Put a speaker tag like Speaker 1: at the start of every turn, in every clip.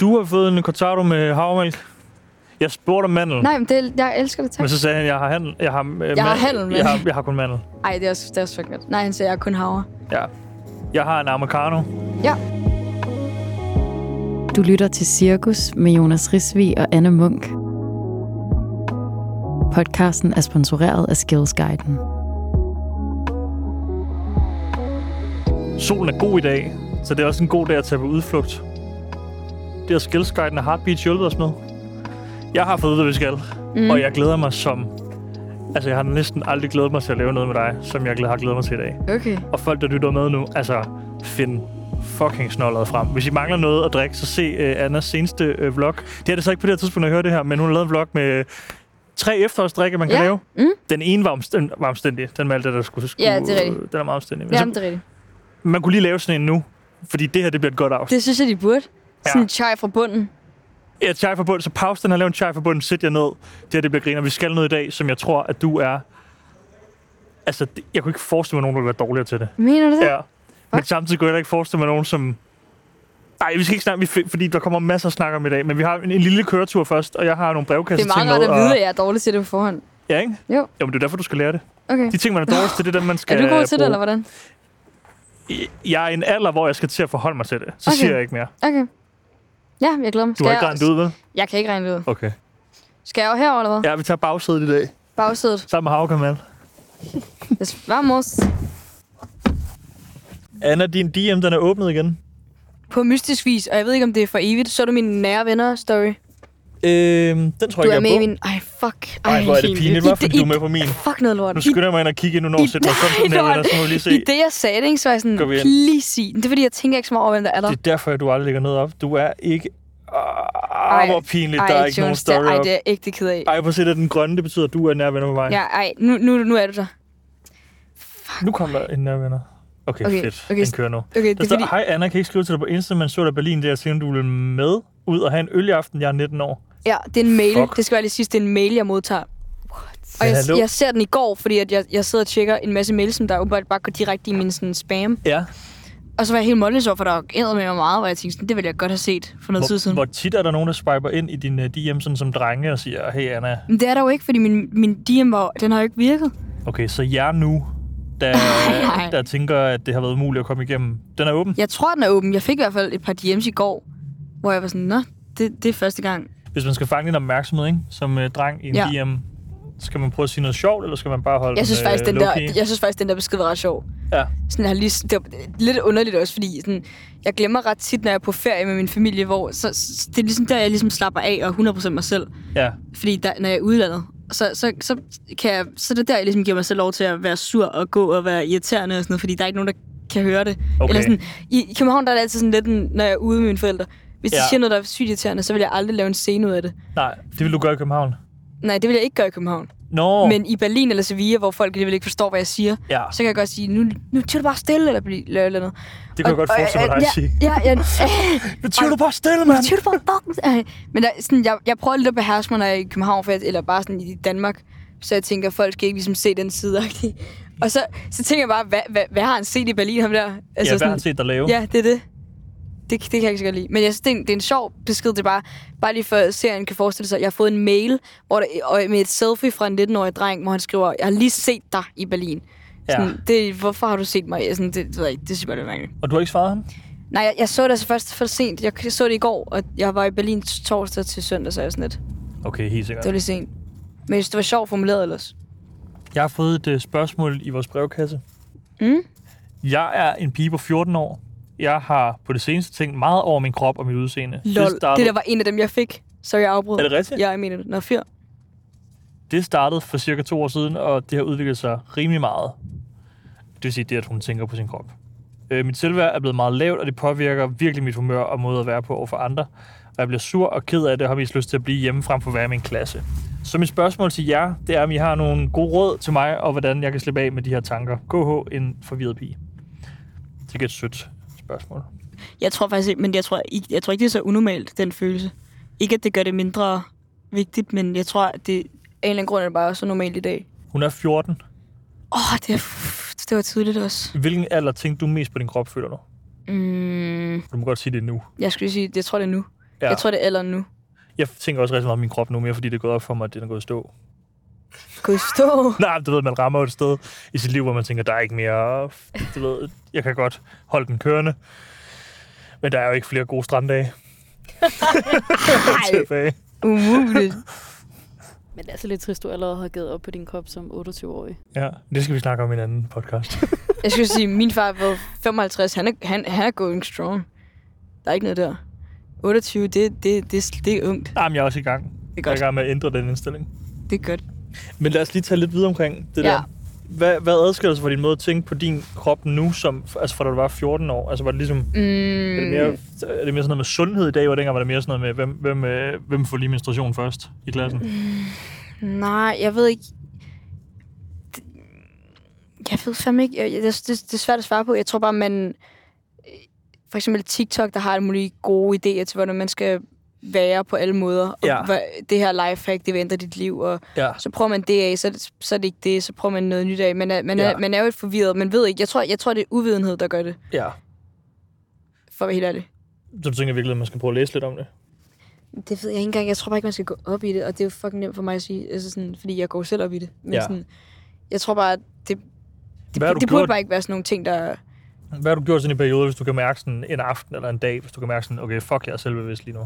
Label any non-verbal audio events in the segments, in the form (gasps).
Speaker 1: du har fået en cortado med havremælk. Jeg spurgte om mandel,
Speaker 2: Nej, men det, jeg elsker det, tak.
Speaker 1: men så sagde han, jeg har handel. Jeg har, øh,
Speaker 2: Jeg har
Speaker 1: ma-
Speaker 2: handel med-
Speaker 1: Jeg har, jeg har kun mandel.
Speaker 2: Ej, det er også, det er også fucking godt. Nej, han siger, jeg er kun havre.
Speaker 1: Ja. Jeg har en americano.
Speaker 2: Ja.
Speaker 3: Du lytter til Cirkus med Jonas Risvi og Anne Munk. Podcasten er sponsoreret af Skillsguiden.
Speaker 1: Solen er god i dag, så det er også en god dag at tage på udflugt. Det har Skillsguiden og Heartbeat hjulpet os med. Jeg har fået det, vi skal, mm. og jeg glæder mig som... Altså, jeg har næsten aldrig glædet mig til at lave noget med dig, som jeg glæ- har glædet mig til i dag.
Speaker 2: Okay.
Speaker 1: Og folk, der lytter med nu, altså, find fucking snolleret frem. Hvis I mangler noget at drikke, så se uh, Annas seneste uh, vlog. Det er det så ikke på det her tidspunkt, når jeg hører det her, men hun har lavet en vlog med øh, tre efterårsdrikke, man kan
Speaker 2: Ja.
Speaker 1: lave.
Speaker 2: Mm.
Speaker 1: Den ene var, omstænd- var omstændig. Den med alt det, der skulle... skulle
Speaker 2: Ja, det er rigtigt.
Speaker 1: Den er meget omstændig. Men så
Speaker 2: Jamen, det er rigtigt.
Speaker 1: man kunne lige lave sådan en nu, fordi det her, det bliver et godt afsnit.
Speaker 2: Det synes jeg, de burde. Sådan
Speaker 1: Ja.
Speaker 2: en chai fra bunden.
Speaker 1: Ja, chai for bunden. Så pause den her, lav en chai for bunden, sæt jer ned. Det her, det bliver griner. Vi skal noget i dag, som jeg tror, at du er... Altså, det, jeg kunne ikke forestille mig nogen, der ville være dårligere til det.
Speaker 2: Mener du det?
Speaker 1: Ja. Men samtidig kunne jeg heller ikke forestille mig nogen, som... Nej, vi skal ikke snakke, vi- fordi der kommer masser at snakke om i dag, men vi har en, en lille køretur først, og jeg har nogle
Speaker 2: det
Speaker 1: brevkasser
Speaker 2: er meget
Speaker 1: til
Speaker 2: rart at
Speaker 1: med,
Speaker 2: vide,
Speaker 1: og-
Speaker 2: at jeg er dårlig til det på forhånd.
Speaker 1: Ja, ikke?
Speaker 2: Jo.
Speaker 1: Jo, men det er derfor, du skal lære det.
Speaker 2: Okay.
Speaker 1: De ting, man er dårligst til, det er dem, man skal
Speaker 2: (gasps)
Speaker 1: øh,
Speaker 2: Er du god til det,
Speaker 1: bruge.
Speaker 2: eller hvordan?
Speaker 1: Jeg er i en alder, hvor jeg skal til at forholde mig til det. Så
Speaker 2: Okay.
Speaker 1: okay. siger jeg ikke mere.
Speaker 2: Okay. Ja, jeg glæder mig.
Speaker 1: Du har ikke
Speaker 2: jeg...
Speaker 1: regnet det ud, vel?
Speaker 2: Jeg kan ikke regne det ud.
Speaker 1: Okay.
Speaker 2: Skal jeg jo herover, eller hvad?
Speaker 1: Ja, vi tager bagsædet i dag.
Speaker 2: Bagsædet.
Speaker 1: Sammen med Havkamal.
Speaker 2: Yes, Vamos.
Speaker 1: Anna, din DM, den er åbnet igen. Øhm,
Speaker 2: På mystisk vis, og jeg ved ikke, om det er for evigt, så er du min nære venner-story.
Speaker 1: Øhm, den tror
Speaker 2: Du
Speaker 1: jeg
Speaker 2: er
Speaker 1: ikke,
Speaker 2: med i
Speaker 1: jeg er
Speaker 2: min... Ej, fuck.
Speaker 1: på. Ej, hvor er det
Speaker 2: helt
Speaker 1: pinligt.
Speaker 2: vildt.
Speaker 1: Hvorfor
Speaker 2: I-
Speaker 1: fordi du er
Speaker 2: i-
Speaker 1: med på min?
Speaker 2: Fuck noget lort.
Speaker 1: Nu
Speaker 2: I,
Speaker 1: skynder jeg mig ind og kigge ind, nu når jeg sætter mig
Speaker 2: (laughs) nej,
Speaker 1: sådan
Speaker 2: lort.
Speaker 1: her, så må vi lige se.
Speaker 2: I det, jeg sagde det, ikke, så var jeg sådan,
Speaker 1: Går vi ind.
Speaker 2: please sig. Det er fordi, jeg tænker ikke så meget over, hvem der er der.
Speaker 1: Det er derfor, at du aldrig lægger noget op. Du er ikke... Ah, hvor pinligt, der er ikke nogen
Speaker 2: Jonas, det-
Speaker 1: story
Speaker 2: Ej,
Speaker 1: op.
Speaker 2: det er jeg ægte ked af.
Speaker 1: Ej, prøv at se, det er den grønne, det betyder, at du er nærvenner med mig.
Speaker 2: Ja, ej, nu, nu, nu er du der.
Speaker 1: Nu kommer der en nærvenner. Okay,
Speaker 2: Okay,
Speaker 1: okay fedt.
Speaker 2: okay.
Speaker 1: Okay. Den kører nu.
Speaker 2: Okay, det
Speaker 1: Der
Speaker 2: er
Speaker 1: står,
Speaker 2: fordi...
Speaker 1: hej Anna, kan ikke skrive til dig på Insta, men så der Berlin, der siger, du vil med ud og have en øl i aften. Jeg er 19 år.
Speaker 2: Ja, det er en mail.
Speaker 1: Fuck.
Speaker 2: Det skal være lige sidst, det er en mail, jeg modtager. Og jeg,
Speaker 1: Hallo?
Speaker 2: jeg ser den i går, fordi at jeg, jeg sidder og tjekker en masse mails, som der åbenbart bare går direkte i min sådan, spam.
Speaker 1: Ja.
Speaker 2: Og så var jeg helt målløs over, for der ændrede med mig meget, og jeg tænkte sådan, det ville jeg godt have set for noget tid
Speaker 1: Hvor,
Speaker 2: siden.
Speaker 1: hvor tit er der nogen, der swiper ind i din uh, DM sådan som drenge og siger, hey Anna,
Speaker 2: Men det er der jo ikke, fordi min, min DM var, den har jo ikke virket.
Speaker 1: okay, så jeg nu,
Speaker 2: (laughs)
Speaker 1: der,
Speaker 2: Ej, ej.
Speaker 1: der tænker, at det har været umuligt at komme igennem. Den er åben.
Speaker 2: Jeg tror, den er åben. Jeg fik i hvert fald et par DM's i går, hvor jeg var sådan, nå, det, det er første gang.
Speaker 1: Hvis man skal fange din opmærksomhed, ikke? som uh, dreng i en
Speaker 2: Ja.
Speaker 1: ja. DM, skal man prøve at sige noget sjovt, eller skal man bare holde
Speaker 2: Jeg synes,
Speaker 1: den,
Speaker 2: faktisk, den der,
Speaker 1: Øh, low-key?
Speaker 2: jeg synes faktisk, den der besked var ret sjov.
Speaker 1: Ja.
Speaker 2: Sådan, jeg har lige, det var lidt underligt også, fordi sådan, jeg glemmer ret tit, når jeg er på ferie med min familie, hvor så, så- det er ligesom der, jeg ligesom slapper af og er 100% mig selv.
Speaker 1: Ja.
Speaker 2: Fordi der, når jeg er i udlandet, så, så, så, kan jeg, så er det der, jeg ligesom giver mig selv lov til at være sur og gå og være irriterende og sådan noget, fordi der er ikke nogen, der kan høre det.
Speaker 1: Okay.
Speaker 2: Eller sådan, i, I København der er det altid sådan lidt, en, når jeg er ude med mine forældre. Hvis de
Speaker 1: Ja.
Speaker 2: siger noget, der er sygt irriterende, så vil jeg aldrig lave en scene ud af det.
Speaker 1: Nej, det vil du gøre i København.
Speaker 2: Nej, det vil jeg ikke gøre i København.
Speaker 1: Nå,
Speaker 2: Oh. Men i Berlin eller Sevilla, hvor folk alligevel ikke forstår, hvad jeg siger,
Speaker 1: ja,
Speaker 2: så kan jeg godt sige, nu, nu tyr du bare stille, eller blive eller, eller noget.
Speaker 1: det kan jeg godt forestille mig dig at sige.
Speaker 2: Ja,
Speaker 1: (laughs)
Speaker 2: (laughs) ja, ja,
Speaker 1: Betyder du bare stille, mand?
Speaker 2: tyr du bare fucking Ej. Men der, sådan, jeg, jeg prøver lidt at beherske mig, når jeg er i København, for jeg, eller bare sådan i Danmark, så jeg tænker, folk skal ikke ligesom se den side. agtig. Og så, så tænker jeg bare, hvad, hvad, hvad har han set i Berlin, ham der? Altså,
Speaker 1: Ja, hvad har han set dig lave?
Speaker 2: Ja, det er det. Det, det kan jeg ikke så godt lide. Men jeg synes, det er en, det er en sjov besked. Det er bare, bare lige for at serien kan forestille sig. Jeg har fået en mail hvor der, og med et selfie fra en 19-årig dreng, hvor han skriver, jeg har lige set dig i Berlin.
Speaker 1: Ja.
Speaker 2: Sådan, det, hvorfor har du set mig? Sådan, det, det, ved jeg ikke, det synes jeg bare, det er mærkeligt.
Speaker 1: Og du har ikke svaret ham?
Speaker 2: Nej, jeg, jeg så det altså først for sent. Jeg så det i går, og jeg var i Berlin torsdag til søndag, så jeg var sådan lidt.
Speaker 1: Okay, helt sikkert.
Speaker 2: Det var lidt sent. Men jeg synes, det var sjovt formuleret ellers.
Speaker 1: Jeg har fået et øh, spørgsmål i vores brevkasse.
Speaker 2: Mm.
Speaker 1: Jeg er en pige på 14 år. Jeg har på det seneste tænkt meget over min krop og mit udseende.
Speaker 2: Lol, det,
Speaker 1: startede,
Speaker 2: det der var en af dem, jeg fik. Så jeg afbrød.
Speaker 1: Er det rigtigt?
Speaker 2: Ja, jeg mener det. Nå, fyr.
Speaker 1: det startede for cirka to år siden, og det har udviklet sig rimelig meget. Det vil sige det, at hun tænker på sin krop. Øh, mit selvværd er blevet meget lavt, og det påvirker virkelig mit humør og måde at være på over for andre. Og jeg bliver sur og ked af det, og har mest lyst til at blive hjemme frem for at være i min klasse. Så mit spørgsmål til jer, det er, om I har nogle gode råd til mig, og hvordan jeg kan slippe af med de her tanker. KH, en forvirret pige. Det er et sødt spørgsmål.
Speaker 2: Jeg tror faktisk ikke, men jeg tror, ikke, jeg tror ikke, det er så unormalt, den følelse. Ikke, at det gør det mindre vigtigt, men jeg tror, at det af en eller anden grund er det bare så normalt i dag.
Speaker 1: Hun er 14.
Speaker 2: Åh, oh, det, er, det var tidligt også.
Speaker 1: I Hvilken alder tænkte du mest på din krop, føler du?
Speaker 2: Mm,
Speaker 1: Du må godt sige det nu.
Speaker 2: jeg skulle lige sige, jeg tror det er nu.
Speaker 1: Ja.
Speaker 2: Jeg tror, det er alderen nu.
Speaker 1: Jeg tænker også rigtig meget om min krop nu mere, fordi det er gået op for mig, at den er gået i stå.
Speaker 2: Kunne I stå?
Speaker 1: (laughs) Nej, men du ved, man rammer jo et sted i sit liv, hvor man tænker, der er ikke mere... Du ved, jeg kan godt holde den kørende. Men der er jo ikke flere gode
Speaker 2: (laughs)
Speaker 1: stranddage
Speaker 2: Nej,
Speaker 1: tilbage.
Speaker 2: umuligt.
Speaker 4: (laughs) Men det er så lidt trist, du allerede har givet op på din krop som 28-årig.
Speaker 1: Ja, det skal vi snakke om i en anden podcast.
Speaker 2: Jeg skulle sige, min far var 55. Han er, han, han er going strong. Der er ikke noget der. 28, det, det, det, det er ungt.
Speaker 1: Nej, Ah, men jeg er også i gang.
Speaker 2: Det
Speaker 1: Jeg er i
Speaker 2: er godt.
Speaker 1: gang med at ændre den indstilling.
Speaker 2: Det er godt.
Speaker 1: Men lad os lige tage lidt videre omkring det
Speaker 2: Ja.
Speaker 1: ja. der. Hvad, hvad adskiller sig fra din måde at tænke på din krop nu, som, altså fra da du var 14 år? Altså var det ligesom, mm. er, det mere,
Speaker 2: Mm,
Speaker 1: er det mere sådan noget med sundhed i dag, hvor dengang var det mere sådan noget med, hvem, hvem, øh, hvem får lige menstruation først i klassen? Mm.
Speaker 2: nej, jeg ved ikke. Det- Jeg ved fandme ikke. Jeg, jeg, det, det, det er svært at svare på. Jeg tror bare, man... øh, For eksempel TikTok, der har alle mulige gode idéer til, hvordan man skal være på alle måder. Og
Speaker 1: Ja.
Speaker 2: hvad, det her lifehack, det vil ændre dit liv. Og
Speaker 1: Ja.
Speaker 2: så prøver man det af, så, er det- så er det ikke det, så prøver man noget nyt af. Man er, man er,
Speaker 1: Ja.
Speaker 2: man er jo et forvirret, man ved ikke. Jeg tror, jeg tror, det er uvidenhed, der gør det,
Speaker 1: ja.
Speaker 2: for at være helt ærlig.
Speaker 1: Så du tænker virkelig, at man skal prøve at læse lidt om det?
Speaker 2: Det ved jeg ikke engang. Jeg tror bare ikke, man skal gå op i det, og det er jo fucking nemt for mig at sige, altså sådan, fordi jeg går selv op i det. Men ja.
Speaker 1: Ja.
Speaker 2: sådan, jeg tror bare, at det, det,
Speaker 1: Hvad har du
Speaker 2: det burde
Speaker 1: gjort?
Speaker 2: bare ikke være sådan nogle ting, der...
Speaker 1: Hvad har du gjort sådan i perioder, hvis du kan mærke sådan en aften eller en dag, hvis du kan mærke sådan, okay, fuck, jeg er selvbevidst lige nu?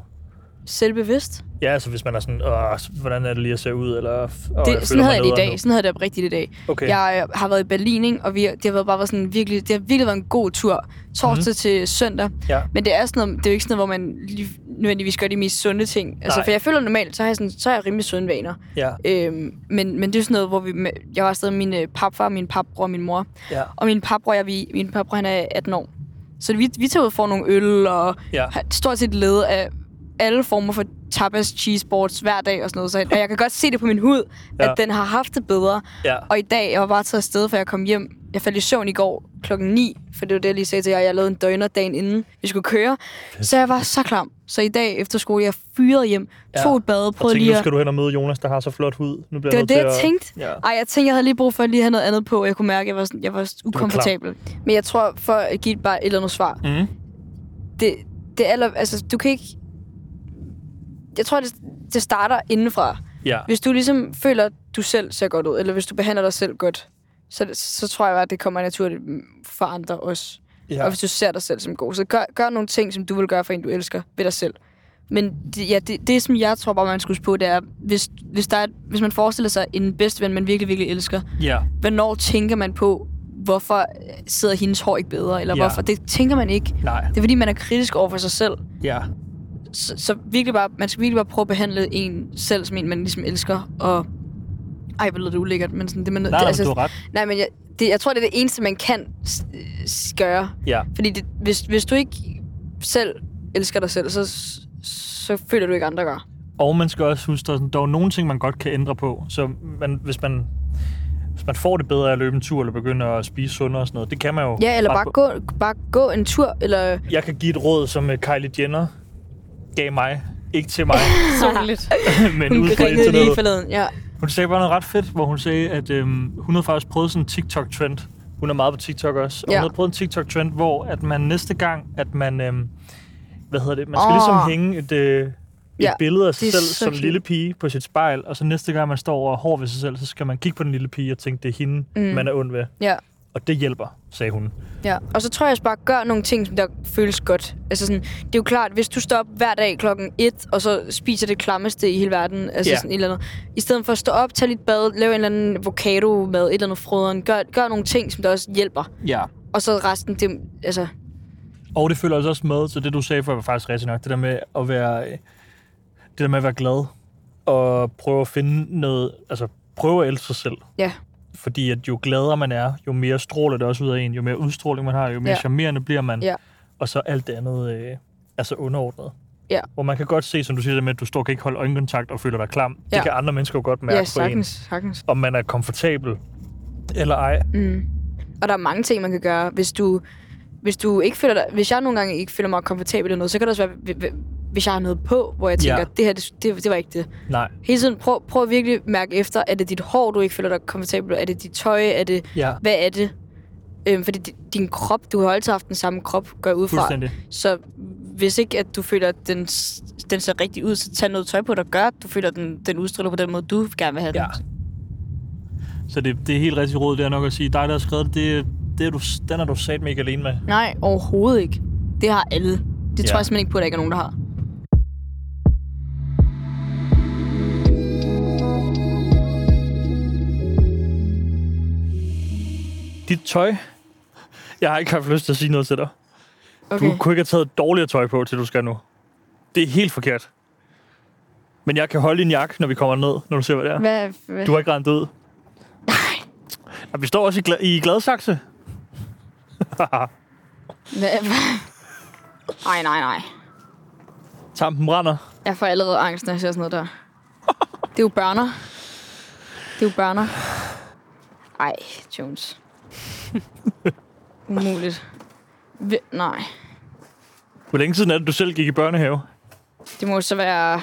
Speaker 2: Selvbevidst.
Speaker 1: Ja, altså hvis man er sådan, Åh, hvordan er det lige at se ud, eller... Åh,
Speaker 2: Det, sådan
Speaker 1: føler
Speaker 2: havde
Speaker 1: mig
Speaker 2: jeg det i
Speaker 1: nederen
Speaker 2: dag.
Speaker 1: nu."
Speaker 2: Sådan havde jeg det oprigtigt i dag.
Speaker 1: Okay.
Speaker 2: Jeg øh, har været i Berlin, ikke? og vi, det har været bare været sådan virkelig, det har virkelig været en god tur. Torsdag mm. til søndag.
Speaker 1: Mhm. Ja.
Speaker 2: Men det er, sådan noget, det er jo ikke sådan noget, hvor man lige, nødvendigvis gør de mest sunde ting. Altså,
Speaker 1: Nej.
Speaker 2: for jeg føler normalt, så har jeg, sådan, så har jeg rimelig sunde vaner.
Speaker 1: Ja,
Speaker 2: Øhm, men, men det er sådan noget, hvor vi, med- jeg var afsted med min øh, papfar, min papbror og min mor.
Speaker 1: ja,
Speaker 2: Og min papbror, jeg, vi, min papbror han er 18 år. Så vi, vi tager ud og får nogle øl, og
Speaker 1: ja.
Speaker 2: har stort set led af alle former for tapas, cheese boards hver dag og sådan noget. Så, og jeg kan godt se det på min hud, ja.
Speaker 1: Ja.
Speaker 2: at den har haft det bedre.
Speaker 1: ja.
Speaker 2: Og i dag, jeg var bare taget afsted, for jeg kom hjem. Jeg faldt i søvn i går klokken 9, for det var det, jeg lige sagde til jer. Jeg lavede en døgner dagen inden, vi skulle køre. Så jeg var så klam. Så i dag efter skole, jeg fyrede hjem,
Speaker 1: Ja.
Speaker 2: tog et bad,
Speaker 1: Og
Speaker 2: prøvede
Speaker 1: tænkte,
Speaker 2: lige
Speaker 1: nu
Speaker 2: at...
Speaker 1: skal du hen og møde Jonas, der har så flot hud. Nu bliver
Speaker 2: Det var
Speaker 1: nødt
Speaker 2: det,
Speaker 1: til
Speaker 2: jeg
Speaker 1: at-
Speaker 2: tænkte.
Speaker 1: Ja.
Speaker 2: Ej, jeg tænkte, jeg havde lige brug for at lige have noget andet på, og jeg kunne mærke, at jeg var, sådan, jeg var ukomfortabel. Men jeg tror, for at give bare et eller andet svar,
Speaker 1: Mm.
Speaker 2: det, det aller, altså, du kan ikke... Jeg tror, det, det starter indenfra.
Speaker 1: Ja.
Speaker 2: Hvis du ligesom føler, at du selv ser godt ud, eller hvis du behandler dig selv godt, så, så tror jeg bare, at det kommer naturligt for andre også. Ja. Og hvis du ser dig selv som god, så gør, gør nogle ting, som du vil gøre for en, du elsker ved dig selv. Men det, ja, det, det, som jeg tror bare, man skulle på, det er, hvis, hvis, der er, et- hvis man forestiller sig en bedste ven, man virkelig, virkelig elsker,
Speaker 1: ja.
Speaker 2: hvornår tænker man på, hvorfor øh, sidder hendes hår ikke bedre, eller
Speaker 1: Ja.
Speaker 2: hvorfor? Det tænker man ikke.
Speaker 1: Nej.
Speaker 2: Det er fordi, man er kritisk over for sig selv.
Speaker 1: Ja.
Speaker 2: Så, så virkelig bare, man skal virkelig bare prøve at behandle en selv, som en, man ligesom elsker, og... Ej, hvor lyder det ulækkert, men sådan, det man...
Speaker 1: Nej,
Speaker 2: det, altså-
Speaker 1: nej, men du har ret.
Speaker 2: nej, men jeg, det, jeg tror, det er det eneste, man kan s- s- gøre.
Speaker 1: Ja.
Speaker 2: Fordi det, hvis, hvis du ikke selv elsker dig selv, så, s- så føler du ikke, andre gør.
Speaker 1: Og man skal også huske, at der er nogle ting, man godt kan ændre på. Så man, hvis man hvis man får det bedre af at løbe en tur, eller begynde at spise sundere og sådan noget, det kan man jo.
Speaker 2: Ja, eller
Speaker 1: ret
Speaker 2: bare
Speaker 1: på-
Speaker 2: gå, bare gå en tur, eller...
Speaker 1: Jeg kan give et råd, som øh, Kylie Jenner gav mig. Ikke til mig, (laughs)
Speaker 2: (laughs)
Speaker 4: Sørgeligt.
Speaker 1: men
Speaker 2: Hun
Speaker 1: ud fra
Speaker 2: ringede lige
Speaker 1: internettet.
Speaker 2: forleden, ja.
Speaker 1: Hun sagde bare noget ret fedt, hvor hun sagde, at øhm, hun havde faktisk prøvet sådan en TikTok-trend. Hun er meget på TikTok også. Og
Speaker 2: Ja.
Speaker 1: hun havde prøvet en TikTok-trend, hvor at man næste gang, at man... Øhm, hvad hedder det? Man skal
Speaker 2: Åh.
Speaker 1: oh. ligesom hænge et, øh, et
Speaker 2: Ja,
Speaker 1: ja, billede af sig
Speaker 2: det er
Speaker 1: selv
Speaker 2: så
Speaker 1: som
Speaker 2: cute.
Speaker 1: lille pige på sit spejl, og så næste gang, man står og er hård ved sig selv, så skal man kigge på den lille pige og tænke, det er hende, mm. man er ond ved.
Speaker 2: Ja.
Speaker 1: Og det hjælper, sagde hun.
Speaker 2: Ja, og så tror jeg også bare, gør nogle ting, som der føles godt. Altså sådan, det er jo klart, hvis du står op hver dag klokken 1, og så spiser det klammeste i hele verden, altså
Speaker 1: Ja.
Speaker 2: sådan et eller andet. I stedet for at stå op, tage lidt bad, lave en eller anden avocado med et eller andet frøderen. Gør, gør nogle ting, som der også hjælper.
Speaker 1: Ja.
Speaker 2: Og så resten, det, altså,
Speaker 1: Og det følger altså også med til det, du sagde før, var faktisk rigtig nok. Det der med at være, det der med at være glad og prøve at finde noget, altså prøve at elske sig selv.
Speaker 2: Ja.
Speaker 1: Fordi at jo gladere man er, jo mere stråler det også ud af en, jo mere udstråling man har, jo mere
Speaker 2: Ja.
Speaker 1: ja. charmerende bliver man.
Speaker 2: Ja.
Speaker 1: Og så alt det andet øh, altså underordnet.
Speaker 2: Ja.
Speaker 1: Hvor man kan godt se, som du siger, det med, at du står og kan ikke holde øjenkontakt og føler dig klam.
Speaker 2: Ja.
Speaker 1: Det kan andre mennesker jo godt mærke på
Speaker 2: ja,
Speaker 1: en.
Speaker 2: sagtens, sagtens.
Speaker 1: Om man er komfortabel eller ej.
Speaker 2: Mm. Og der er mange ting, man kan gøre, hvis du, hvis du ikke føler dig, hvis jeg nogle gange ikke føler mig komfortabel eller noget, så kan det også være, hv- hv- hvis jeg har noget på, hvor jeg tænker,
Speaker 1: Ja.
Speaker 2: det her, det, det, det var ikke det.
Speaker 1: Nej.
Speaker 2: Hele tiden prøv, prøv at virkelig mærke efter, er det dit hår, du ikke føler dig komfortabel? Er det dit tøj? Er det,
Speaker 1: Ja.
Speaker 2: hvad er det? Øhm, fordi di- din krop, du har altid haft den samme krop, går jeg ud fra.
Speaker 1: Fuldstændig.
Speaker 2: Så hvis ikke at du føler, at den, s- den ser rigtig ud, så tag noget tøj på, der gør, at du føler, at den, den udstråler på den måde, du gerne vil have
Speaker 1: Ja.
Speaker 2: den.
Speaker 1: Så det, det er helt rigtig råd, det er nok at sige, dig, der har skrevet det, det, det er du, den er du sat mig ikke alene med.
Speaker 2: Nej, overhovedet ikke. Det har alle. Det
Speaker 1: Ja.
Speaker 2: tror jeg simpelthen ikke på, at der ikke er nogen, der har.
Speaker 1: Dit tøj, jeg har ikke haft lyst til at sige noget til dig. Okay. Du
Speaker 2: Okay.
Speaker 1: kunne ikke have taget dårligere tøj på, til du skal nu. Det er helt forkert. Men jeg kan holde din jakke, når vi kommer ned, når du ser, hvad det er.
Speaker 2: Hvad, hvad?
Speaker 1: Du har ikke rent ud. Nej. Og vi står også i, gla- i Gladsaxe.
Speaker 2: Hvad? (laughs) Nej, nej, nej.
Speaker 1: Tampen brænder.
Speaker 2: Jeg får allerede angst, når jeg ser sådan noget der. Det er jo børner. Det er jo børner. Ej, Jones. Umuligt. Vi, nej.
Speaker 1: Hvor længe siden er det, du selv gik i børnehave?
Speaker 2: Det må jo så være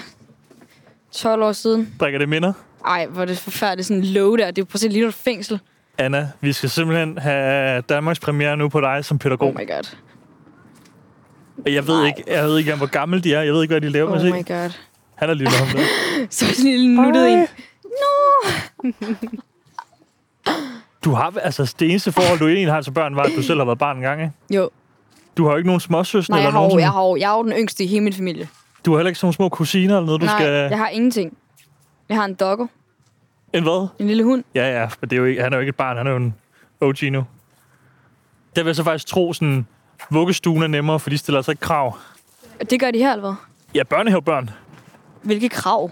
Speaker 2: 12 år siden.
Speaker 1: Drikker det minder?
Speaker 2: Ej, hvor er det forfærdeligt sådan en låge der. Det er jo præcis lige nu et fængsel.
Speaker 1: Anna, vi skal simpelthen have Danmarks premiere nu på dig som pædagog.
Speaker 2: Oh
Speaker 1: Oh
Speaker 2: my god.
Speaker 1: jeg ved
Speaker 2: nej.
Speaker 1: ikke, jeg ved ikke engang, hvor gammel de er. Jeg ved ikke, hvad de laver.
Speaker 2: Oh
Speaker 1: Oh
Speaker 2: my
Speaker 1: se.
Speaker 2: god.
Speaker 1: Han er lille ham der.
Speaker 2: Så er sådan en lille nuttet en.
Speaker 1: Du har, altså, det eneste forhold, du egentlig har til børn, var, at du selv har været barn en gang, ikke?
Speaker 2: Jo.
Speaker 1: Du har jo ikke nogen småsøstre
Speaker 2: Nej,
Speaker 1: eller
Speaker 2: jeg har,
Speaker 1: nogen.
Speaker 2: jo,
Speaker 1: sådan-
Speaker 2: jeg, har, jo- jeg er jo den yngste i hele min familie.
Speaker 1: Du har heller ikke sådan nogle små kusiner eller noget, du
Speaker 2: nej,
Speaker 1: skal...
Speaker 2: jeg har ingenting. Jeg har en doggo.
Speaker 1: En hvad?
Speaker 2: En lille hund.
Speaker 1: Ja, ja, men det er jo ikke, han er jo ikke et barn, han er jo en OG nu. Der vil jeg så faktisk tro, sådan, vuggestuen er nemmere, for de stiller altså ikke krav.
Speaker 2: Og det gør de her, eller hvad?
Speaker 1: Ja, børnehavebørn.
Speaker 2: Hvilke krav?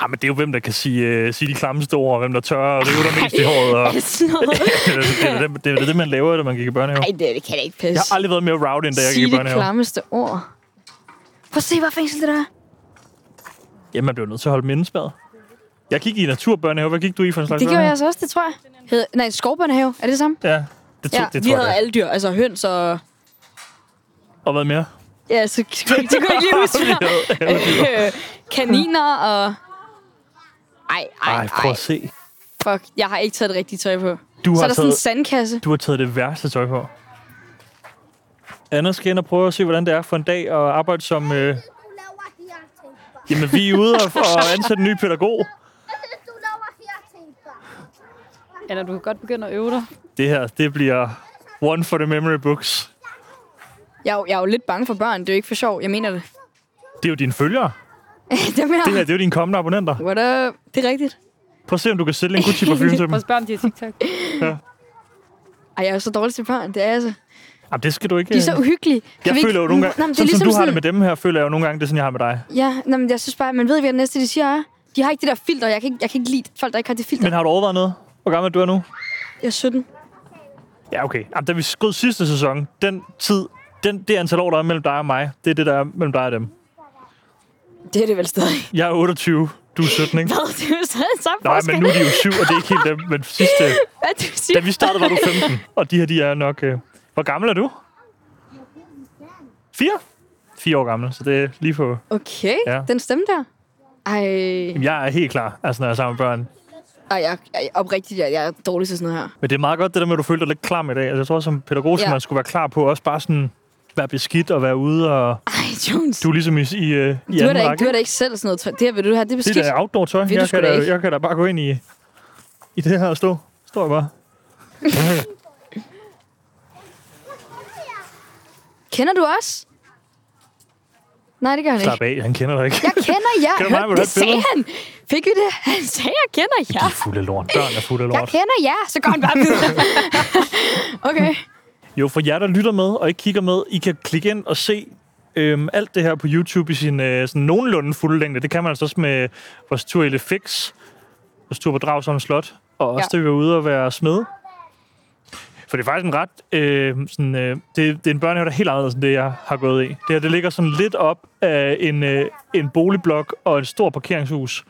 Speaker 1: Ah, men det er jo hvem, der kan sige, uh, sige de klammeste ord, og hvem der tør og rive dig mest i håret.
Speaker 2: (laughs)
Speaker 1: Og,
Speaker 2: Er det
Speaker 1: (laughs)
Speaker 2: sådan noget?
Speaker 1: det, er det, det, er det, man laver, da man gik i børnehave.
Speaker 2: Ej, det, det kan da ikke passe.
Speaker 1: Jeg har aldrig været mere rowdy, end da jeg
Speaker 2: Sige
Speaker 1: gik i
Speaker 2: det
Speaker 1: børnehave.
Speaker 2: klammeste ord. Prøv at se, hvad fængsel det der er.
Speaker 1: Jamen, man blev nødt til at holde mindespad. Jeg gik i naturbørnehave. Hvad gik du i for en slags
Speaker 2: Det gjorde
Speaker 1: børnehave?
Speaker 2: jeg altså også, det tror jeg. Hed, nej, skovbørnehave. Er det det samme?
Speaker 1: Ja, det, tog,
Speaker 2: Ja,
Speaker 1: ja, det
Speaker 2: vi
Speaker 1: tror
Speaker 2: havde
Speaker 1: jeg.
Speaker 2: alle dyr. Altså høns og...
Speaker 1: Og hvad mere? (laughs)
Speaker 2: Ja, så det kunne jeg ikke- (laughs) det kunne jeg ikke lige huske.
Speaker 1: Vi
Speaker 2: (laughs)
Speaker 1: havde alle dyr.
Speaker 2: Øh, kaniner og... Ej, ej,
Speaker 1: Ej, prøv
Speaker 2: ej.
Speaker 1: at se.
Speaker 2: Fuck, jeg har ikke taget det rigtige tøj på.
Speaker 1: Du
Speaker 2: så er
Speaker 1: har,
Speaker 2: der sådan en
Speaker 1: taget,
Speaker 2: sandkasse.
Speaker 1: du har taget det værste tøj på. Anna skal ind og prøve at se, hvordan det er for en dag at arbejde som... Øh,
Speaker 5: Du laver de her ting, far.
Speaker 1: jamen, vi er ude og, og ansætte en ny pædagog.
Speaker 5: Jeg synes, du laver de her ting, far.
Speaker 4: Anna, du kan godt begynde at øve dig.
Speaker 1: Det her, det bliver one for the memory books.
Speaker 2: Jeg, er jo- jeg er jo lidt bange for børn. Det er jo ikke for sjov. Jeg mener det. (laughs)
Speaker 1: Det er jo dine følgere.
Speaker 2: Dem her.
Speaker 1: Det her, det er jo dine kommende abonnenter.
Speaker 2: What up? Det er rigtigt.
Speaker 1: Prøv at se, om du kan sælge en
Speaker 2: (laughs)
Speaker 1: Gucci-parfume til dem.
Speaker 4: Prøv at spørge, om de har TikTok.
Speaker 2: Ej, jeg er jo så dårlig til børn. Det er jeg altså.
Speaker 1: Jamen, det skal du ikke... øh.
Speaker 2: De er så uhyggelige. Kan
Speaker 1: jeg
Speaker 2: vi
Speaker 1: føler jo nogle gange,
Speaker 2: Nå, men det er
Speaker 1: sådan
Speaker 2: ligesom
Speaker 1: som du har
Speaker 2: sådan,
Speaker 1: det med dem her, føler jeg jo nogle gange, det er sådan, jeg har med dig.
Speaker 2: Ja, nå, men jeg synes bare, man ved, hvad det næste, de siger er. De har ikke det der filter. Jeg kan ikke, jeg kan ikke lide folk, der ikke har det filter.
Speaker 1: Men har du overvejet noget? Hvor gammel er du er nu?
Speaker 2: Jeg er 17.
Speaker 1: Ja, okay. Jamen, da vi skød sidste sæson, den tid, den, det antal år, der er mellem dig og mig, det er det, der er mellem dig og dem.
Speaker 2: Det er det vel stadig. (laughs)
Speaker 1: Jeg er 28, du er 17, ikke?
Speaker 2: Hvad? Det er jo stadig samme
Speaker 1: Nej,
Speaker 2: forskel.
Speaker 1: men nu er de jo 7, og det er ikke helt dem. Men sidste,
Speaker 2: (laughs) Hvad du
Speaker 1: da
Speaker 2: siger?
Speaker 1: vi startede, var du 15, og de her, de er nok... Øh, hvor gammel er du? 4? 4 år gammel, så det er lige på...
Speaker 2: Okay,
Speaker 1: Ja.
Speaker 2: den stemme der. Ej,
Speaker 1: Jamen, jeg er helt klar, altså, når jeg er sammen med børn.
Speaker 2: Ej jeg, jeg, oprigtigt, jeg, jeg er dårlig til sådan noget her.
Speaker 1: Men det er meget godt, det der med, at du følte dig lidt klam i dag. Altså, jeg tror, som pædagog, ja.
Speaker 2: Ja.
Speaker 1: man skulle være klar på også bare sådan være beskidt og være ude, og
Speaker 2: Ej, Jones.
Speaker 1: du er ligesom i, i, øh, i
Speaker 2: Du er,
Speaker 1: anden
Speaker 2: da ikke,
Speaker 1: række.
Speaker 2: du er da ikke selv sådan noget tøj. Det her vil du have, det
Speaker 1: Det
Speaker 2: er beskidt.
Speaker 1: der outdoor tøj.
Speaker 2: du
Speaker 1: Jeg
Speaker 2: sgu
Speaker 1: kan,
Speaker 2: da
Speaker 1: da,
Speaker 2: ikke.
Speaker 1: jeg kan da bare gå ind i, i det her og stå. Står jeg bare.
Speaker 2: Kender du os? Nej, det gør han
Speaker 1: Slap
Speaker 2: ikke.
Speaker 1: af, han kender dig ikke.
Speaker 2: Jeg kender jer.
Speaker 1: Kender mig,
Speaker 2: Hør,
Speaker 1: vil du
Speaker 2: det
Speaker 1: have et
Speaker 2: sagde
Speaker 1: billede?
Speaker 2: han. Fik I det? Han sagde, jeg kender
Speaker 1: De
Speaker 2: jer.
Speaker 1: er fulde af lort. Børn er fulde af
Speaker 2: Jeg
Speaker 1: lort.
Speaker 2: kender jer. Så går han bare videre. (laughs) okay.
Speaker 1: Jo, for jer, der lytter med og ikke kigger med, I kan klikke ind og se øhm, alt det her på YouTube i sin øh, sådan nogenlunde fulde længde. Det kan man altså også med vores tur i Fix, vores tur på Dragsholm Slot, og også ja.
Speaker 2: Ja.
Speaker 1: det, vi var ude og være smed. For det er faktisk en ret... Øh, sådan, øh, det, det er en børnehave, der er helt anderledes end det, jeg har gået i. Det her, det ligger sådan lidt op af en, øh, en boligblok og et stort parkeringshus.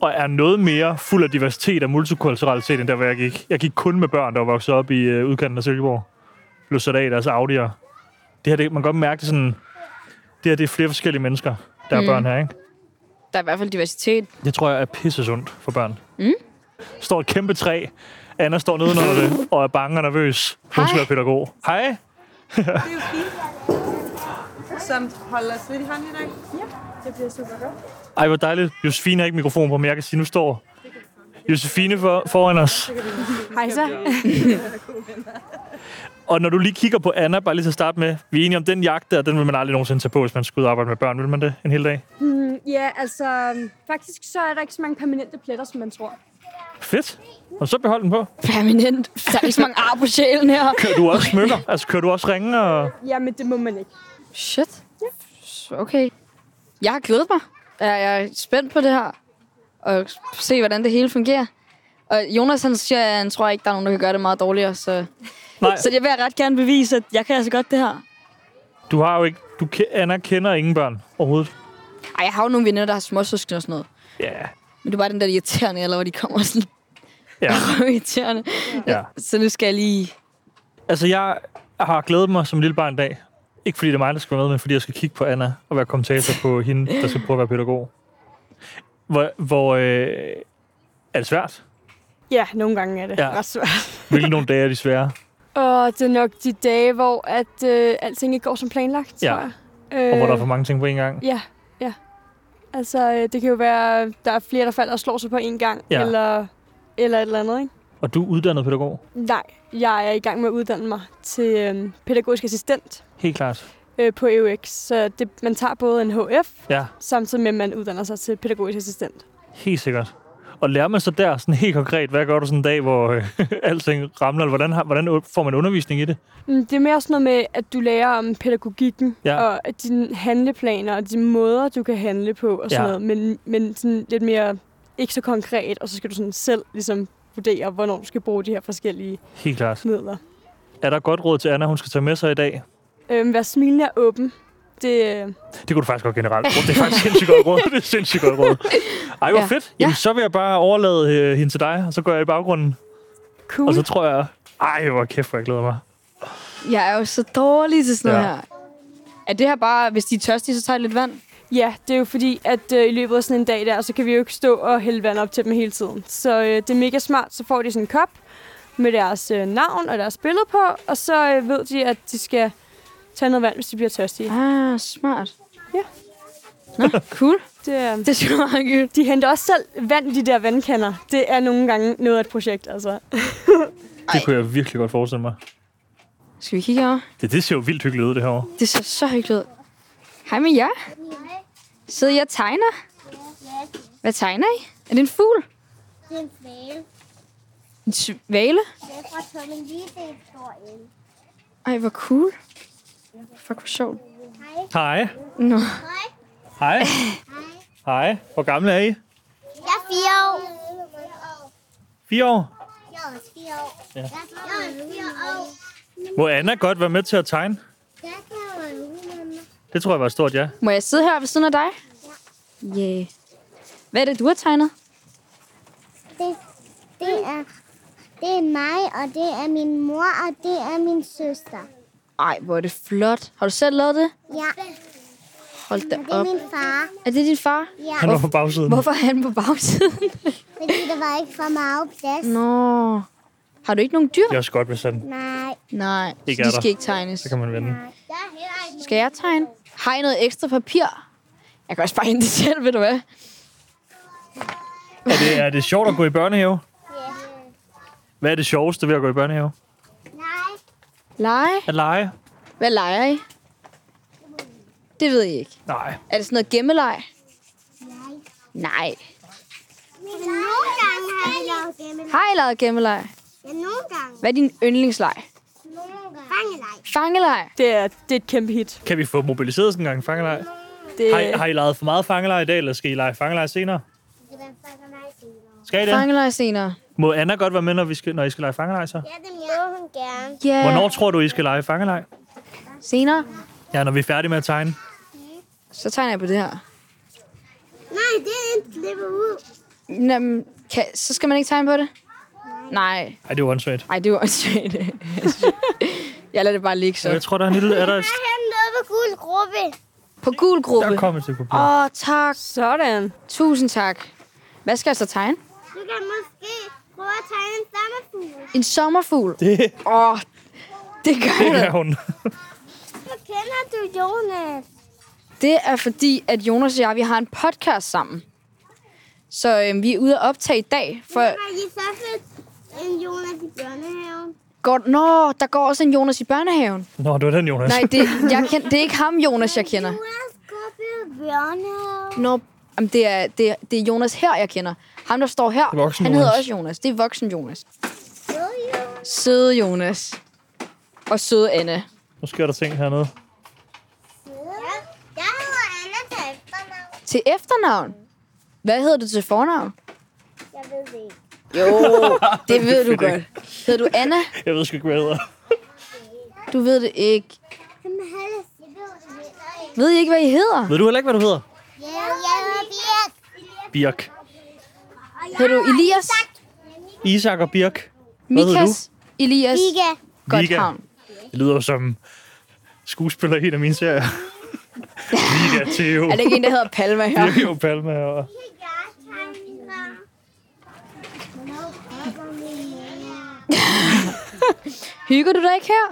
Speaker 1: Og er noget mere fuld af diversitet og multikulturalitet, end der, hvor jeg gik. Jeg gik kun med børn, der var vokset op i øh, udkanten af Silkeborg. Blev sat af i deres Audi'er. Det her, det, man kan godt mærke, det er sådan... Det her, det er flere forskellige mennesker, der er børn her, ikke?
Speaker 2: Der er i hvert fald diversitet.
Speaker 1: Det tror jeg er pisse sundt for børn. Mm. Står et kæmpe træ. Anna står nedenunder det og er bange og nervøs. Hun skal
Speaker 2: Hej.
Speaker 1: være pædagog. Hej.
Speaker 6: som holder os lidt i hånden i dag.
Speaker 1: Ej, hvor dejligt. Josefine har ikke mikrofon på, men jeg kan sige, nu står Josefine for, foran os.
Speaker 7: Hej så.
Speaker 1: Og når du lige kigger på Anna, bare lige til at starte med, vi er enige om den jagt der, den vil man aldrig nogensinde tage på, hvis man skal ud og arbejde med børn. Vil man det en hel dag?
Speaker 7: Ja, altså, faktisk så er der ikke så mange permanente pletter, som man tror.
Speaker 1: Fedt. Og så behold den på.
Speaker 2: Permanent. Der er ikke så mange ar på sjælen her.
Speaker 1: Kører du også smykker? (laughs) Altså, kører du også ringe? Og...
Speaker 7: Jamen, det må man ikke.
Speaker 2: Shit. Så Okay. Jeg har glædet mig. Jeg jeg er spændt på det her. Og se, hvordan det hele fungerer. Og Jonas, han siger, at han tror ikke, der er nogen, der kan gøre det meget dårligere. Så,
Speaker 1: Nej,
Speaker 2: (laughs) så jeg vil ret gerne bevise, at jeg kan altså godt det her.
Speaker 1: du har jo ikke... Du, ke- Anna kender ingen børn overhovedet.
Speaker 2: Ej, jeg har jo nogle venner, der har småsøskende og sådan noget.
Speaker 1: Ja. Yeah.
Speaker 2: Men det er bare den der irriterende, eller hvor de kommer sådan (laughs)
Speaker 1: Ja.
Speaker 2: irriterende.
Speaker 1: ja.
Speaker 2: Så nu skal jeg lige...
Speaker 1: (laughs) Altså, jeg har glædet mig som lille barn i dag. Ikke fordi det er mig, der skal være med, men fordi jeg skal kigge på Anna og være kommentator på hende, der skal prøve at være pædagog. Hvor, hvor øh, er det svært?
Speaker 7: Ja, nogle gange er det
Speaker 1: Ja.
Speaker 7: ret svært.
Speaker 1: Hvilke nogle dage er de svære?
Speaker 7: Og det er nok de dage, hvor at, øh, alting ikke går som planlagt, tror
Speaker 1: Ja.
Speaker 7: jeg.
Speaker 1: Og hvor der er
Speaker 7: Øh,
Speaker 1: for mange ting på én gang?
Speaker 7: Ja, ja. Altså, øh, det kan jo være, der er flere, der falder og slår sig på én gang,
Speaker 1: Ja.
Speaker 7: eller, eller et eller andet, ikke?
Speaker 1: Og du er uddannet pædagog?
Speaker 7: Nej, jeg er i gang med at uddanne mig til øh, pædagogisk assistent
Speaker 1: Helt klart.
Speaker 7: øh, på EUX, så det, man tager både en HF,
Speaker 1: Ja,
Speaker 7: samtidig med, at man uddanner sig til pædagogisk assistent.
Speaker 1: helt sikkert. Og lærer man så der sådan helt konkret, hvad gør du sådan en dag, hvor øh, (laughs) alting ramler? Eller hvordan, har, hvordan får man undervisning i det?
Speaker 7: Mm, Det er mere sådan noget med, at du lærer om pædagogikken,
Speaker 1: Ja.
Speaker 7: og at dine handleplaner, og de måder, du kan handle på, og sådan
Speaker 1: Ja.
Speaker 7: ja. noget, men, men sådan lidt mere ikke så konkret, og så skal du sådan selv ligesom vurdere, hvornår du skal bruge de her forskellige
Speaker 1: Helt klart.
Speaker 7: midler.
Speaker 1: Er der et godt råd til Anna, hun skal tage med sig i dag?
Speaker 7: Øhm, vær smilende og åben. Det, øh,
Speaker 1: Det kunne du faktisk godt generelt. bruge. Det er faktisk sindssygt godt råd. Det er sindssygt godt råd. Ej, hvor ja.
Speaker 2: Ja.
Speaker 1: fedt. Jamen, så vil jeg bare overlade øh, hende til dig, og så går jeg i baggrunden.
Speaker 7: cool.
Speaker 1: Og så tror jeg... Ej, hvor kæft, hvor jeg glæder mig.
Speaker 2: Jeg er jo så dårlig til sådan
Speaker 1: Ja.
Speaker 2: noget her. Er det her bare, hvis de er tørstige, så tager jeg lidt vand?
Speaker 7: Ja, det er jo fordi, at øh, i løbet af sådan en dag der, så kan vi jo ikke stå og hælde vand op til dem hele tiden. Så øh, det er mega smart, så får de sådan en kop med deres øh, navn og deres billede på, og så øh, ved de, at de skal tage noget vand, hvis de bliver tørstige.
Speaker 2: Ah, smart.
Speaker 7: Ja.
Speaker 2: Nå, cool.
Speaker 7: Det, øh,
Speaker 2: Det er sgu meget hyggeligt.
Speaker 7: de henter også selv vand i de der vandkander. Det er nogle gange noget af et projekt, altså.
Speaker 1: Det kunne jeg virkelig godt forestille mig.
Speaker 2: Skal vi kigge over?
Speaker 1: Det, det ser jo vildt hyggeligt ud, det herovre.
Speaker 2: Det ser så hyggeligt ud. Hej med jer.
Speaker 5: Nej,
Speaker 2: Sidder jeg og tegner?
Speaker 5: ja,
Speaker 2: Hvad tegner I? Er det en fugl?
Speaker 5: det er en flæle.
Speaker 2: En svale?
Speaker 5: Det er fra Tommy Lee, det er en stor en.
Speaker 2: Ej, hvor cool. Fuck, hvor sjovt.
Speaker 5: Hej,
Speaker 1: Hej.
Speaker 2: Nå.
Speaker 5: hej.
Speaker 1: Hej. Hej. Hvor gamle er I?
Speaker 5: Jeg er fire år.
Speaker 1: Fire år.
Speaker 5: Jeg er også fire år. Ja. Jeg er også fire år.
Speaker 1: Må Anna godt være med til at tegne?
Speaker 5: Jeg kan være ude,
Speaker 1: Det tror jeg var et stort ja.
Speaker 2: Må jeg sidde her ved siden af dig? Ja. Yeah. Hvad er det, du har tegnet?
Speaker 5: Det, det, er, det er mig, og det er min mor, og det er min søster.
Speaker 2: Ej, hvor er det flot. Har du selv lavet det?
Speaker 5: Ja,
Speaker 2: Hold da
Speaker 5: det er
Speaker 2: op.
Speaker 5: min far.
Speaker 2: Er det din far?
Speaker 5: Ja,
Speaker 1: Han var på bagsiden.
Speaker 2: Hvorfor er han på bagsiden?
Speaker 5: fordi der var ikke for meget plads.
Speaker 2: Nå. Har du ikke nogen dyr?
Speaker 1: Det er også godt, hvis han...
Speaker 5: Nej.
Speaker 2: Nej,
Speaker 1: Ikke
Speaker 2: ikke
Speaker 1: er
Speaker 2: de
Speaker 1: der.
Speaker 2: skal ikke tegnes.
Speaker 1: Så kan man vende.
Speaker 5: Jeg er heller ikke
Speaker 2: Skal jeg tegne? Har I noget ekstra papir? Jeg kan også bare hente det selv, ved du hvad?
Speaker 1: Er det, er det sjovt at gå i børnehave?
Speaker 5: Ja.
Speaker 1: Hvad er det sjoveste ved at gå i børnehave?
Speaker 5: Nej.
Speaker 2: Lege?
Speaker 1: At lege?
Speaker 2: Hvad leger I? Det ved I ikke.
Speaker 1: Nej.
Speaker 2: Er det sådan noget gemmeleg?
Speaker 5: Nej.
Speaker 2: Nej.
Speaker 5: Men nogle gange har jeg lavet gemmel.
Speaker 2: Har I lavet gemmeleg?
Speaker 5: Men nogle gange.
Speaker 2: Hvad er din yndlingsleg?
Speaker 5: Nogle gange. Fangeleg.
Speaker 2: Fangeleg?
Speaker 7: Det er, det er et kæmpe hit.
Speaker 1: Kan vi få mobiliseret sådan en gang fangelej?
Speaker 2: Øh.
Speaker 7: Det,
Speaker 1: Har I, har I leget for meget fangelej i dag, eller skal I lege fangelej senere?
Speaker 5: Det kan være fangeleg senere.
Speaker 1: Skal I det?
Speaker 2: Fangeleg senere.
Speaker 1: Må Anna godt være med, når, vi skal, når I skal lege fangelej så?
Speaker 5: Ja, det må hun gerne.
Speaker 2: Ja. Yeah.
Speaker 1: Hvornår tror du, I skal lege fangelej?
Speaker 2: Senere?
Speaker 1: Ja, når vi er færdige med at tegne.
Speaker 2: Så tegner jeg på det her.
Speaker 5: Nej, det er en slippe ud.
Speaker 2: Jamen, kan, så skal man ikke tegne på det? Nej.
Speaker 1: Ej, det er uansvært.
Speaker 2: Nej, det var også (laughs) svært. jeg lader det bare ligge så.
Speaker 1: Jeg tror, der er en lille... Er der, et-
Speaker 5: Han nåede på gul gruppe.
Speaker 2: På gul gruppe.
Speaker 1: der er kommet til papir.
Speaker 2: Åh, oh, tak.
Speaker 7: sådan.
Speaker 2: Tusind tak. Hvad skal jeg så tegne?
Speaker 5: Du kan måske prøve at tegne
Speaker 2: En
Speaker 5: en sommerfugl.
Speaker 2: sommerfugl.
Speaker 1: Det,
Speaker 2: Åh, oh, det gør
Speaker 1: det
Speaker 2: jeg.
Speaker 1: er hun.
Speaker 5: Så kender du Jonas.
Speaker 2: Det er fordi, at Jonas og jeg, vi har en podcast sammen. Så øhm, vi er ude at optage i dag. For
Speaker 5: Har I så fik en Jonas i børnehaven?
Speaker 2: går, nå, der går også en Jonas i børnehaven.
Speaker 1: Nå, det var den, Jonas.
Speaker 2: Nej, det, jeg kend, det er ikke ham, Jonas, jeg kender.
Speaker 5: Jonas går i børnehaven.
Speaker 2: Nå, jamen, det, er, det, er, det er Jonas her, jeg kender. Ham, der står her, han
Speaker 1: voksen
Speaker 2: hedder
Speaker 1: Jonas.
Speaker 2: også Jonas. Det er voksen Jonas.
Speaker 5: Jo, jo.
Speaker 2: Søde Jonas. Og søde Anna.
Speaker 1: Nu sker der ting hernede.
Speaker 5: Ja. Jeg hedder Anna til efternavn.
Speaker 2: Til efternavn. Hvad hedder du til fornavn?
Speaker 5: Jeg ved det ikke.
Speaker 2: Jo,
Speaker 1: (laughs)
Speaker 2: det ved du godt. Hedder du Anna?
Speaker 1: Jeg ved sgu ikke, hvad jeg hedder.
Speaker 2: Du ved det ikke.
Speaker 5: Kom med Halles. Jeg ved det ikke.
Speaker 2: Ved I ikke, hvad I hedder?
Speaker 1: Ved du heller ikke, hvad du hedder?
Speaker 5: Ja, jeg hedder Birk.
Speaker 1: Birk.
Speaker 2: Hedder du Elias?
Speaker 1: Isak og Birk. Hvad hedder
Speaker 2: Mikas? Elias?
Speaker 5: Giga.
Speaker 2: Godthavn.
Speaker 1: Det lyder jo som skuespiller i en af mine serier.
Speaker 2: (laughs)
Speaker 1: Liga, Theo,
Speaker 2: Er det ikke en, der hedder Palma her?
Speaker 1: Birk og Palma og
Speaker 2: (laughs) Hygger du dig ikke her?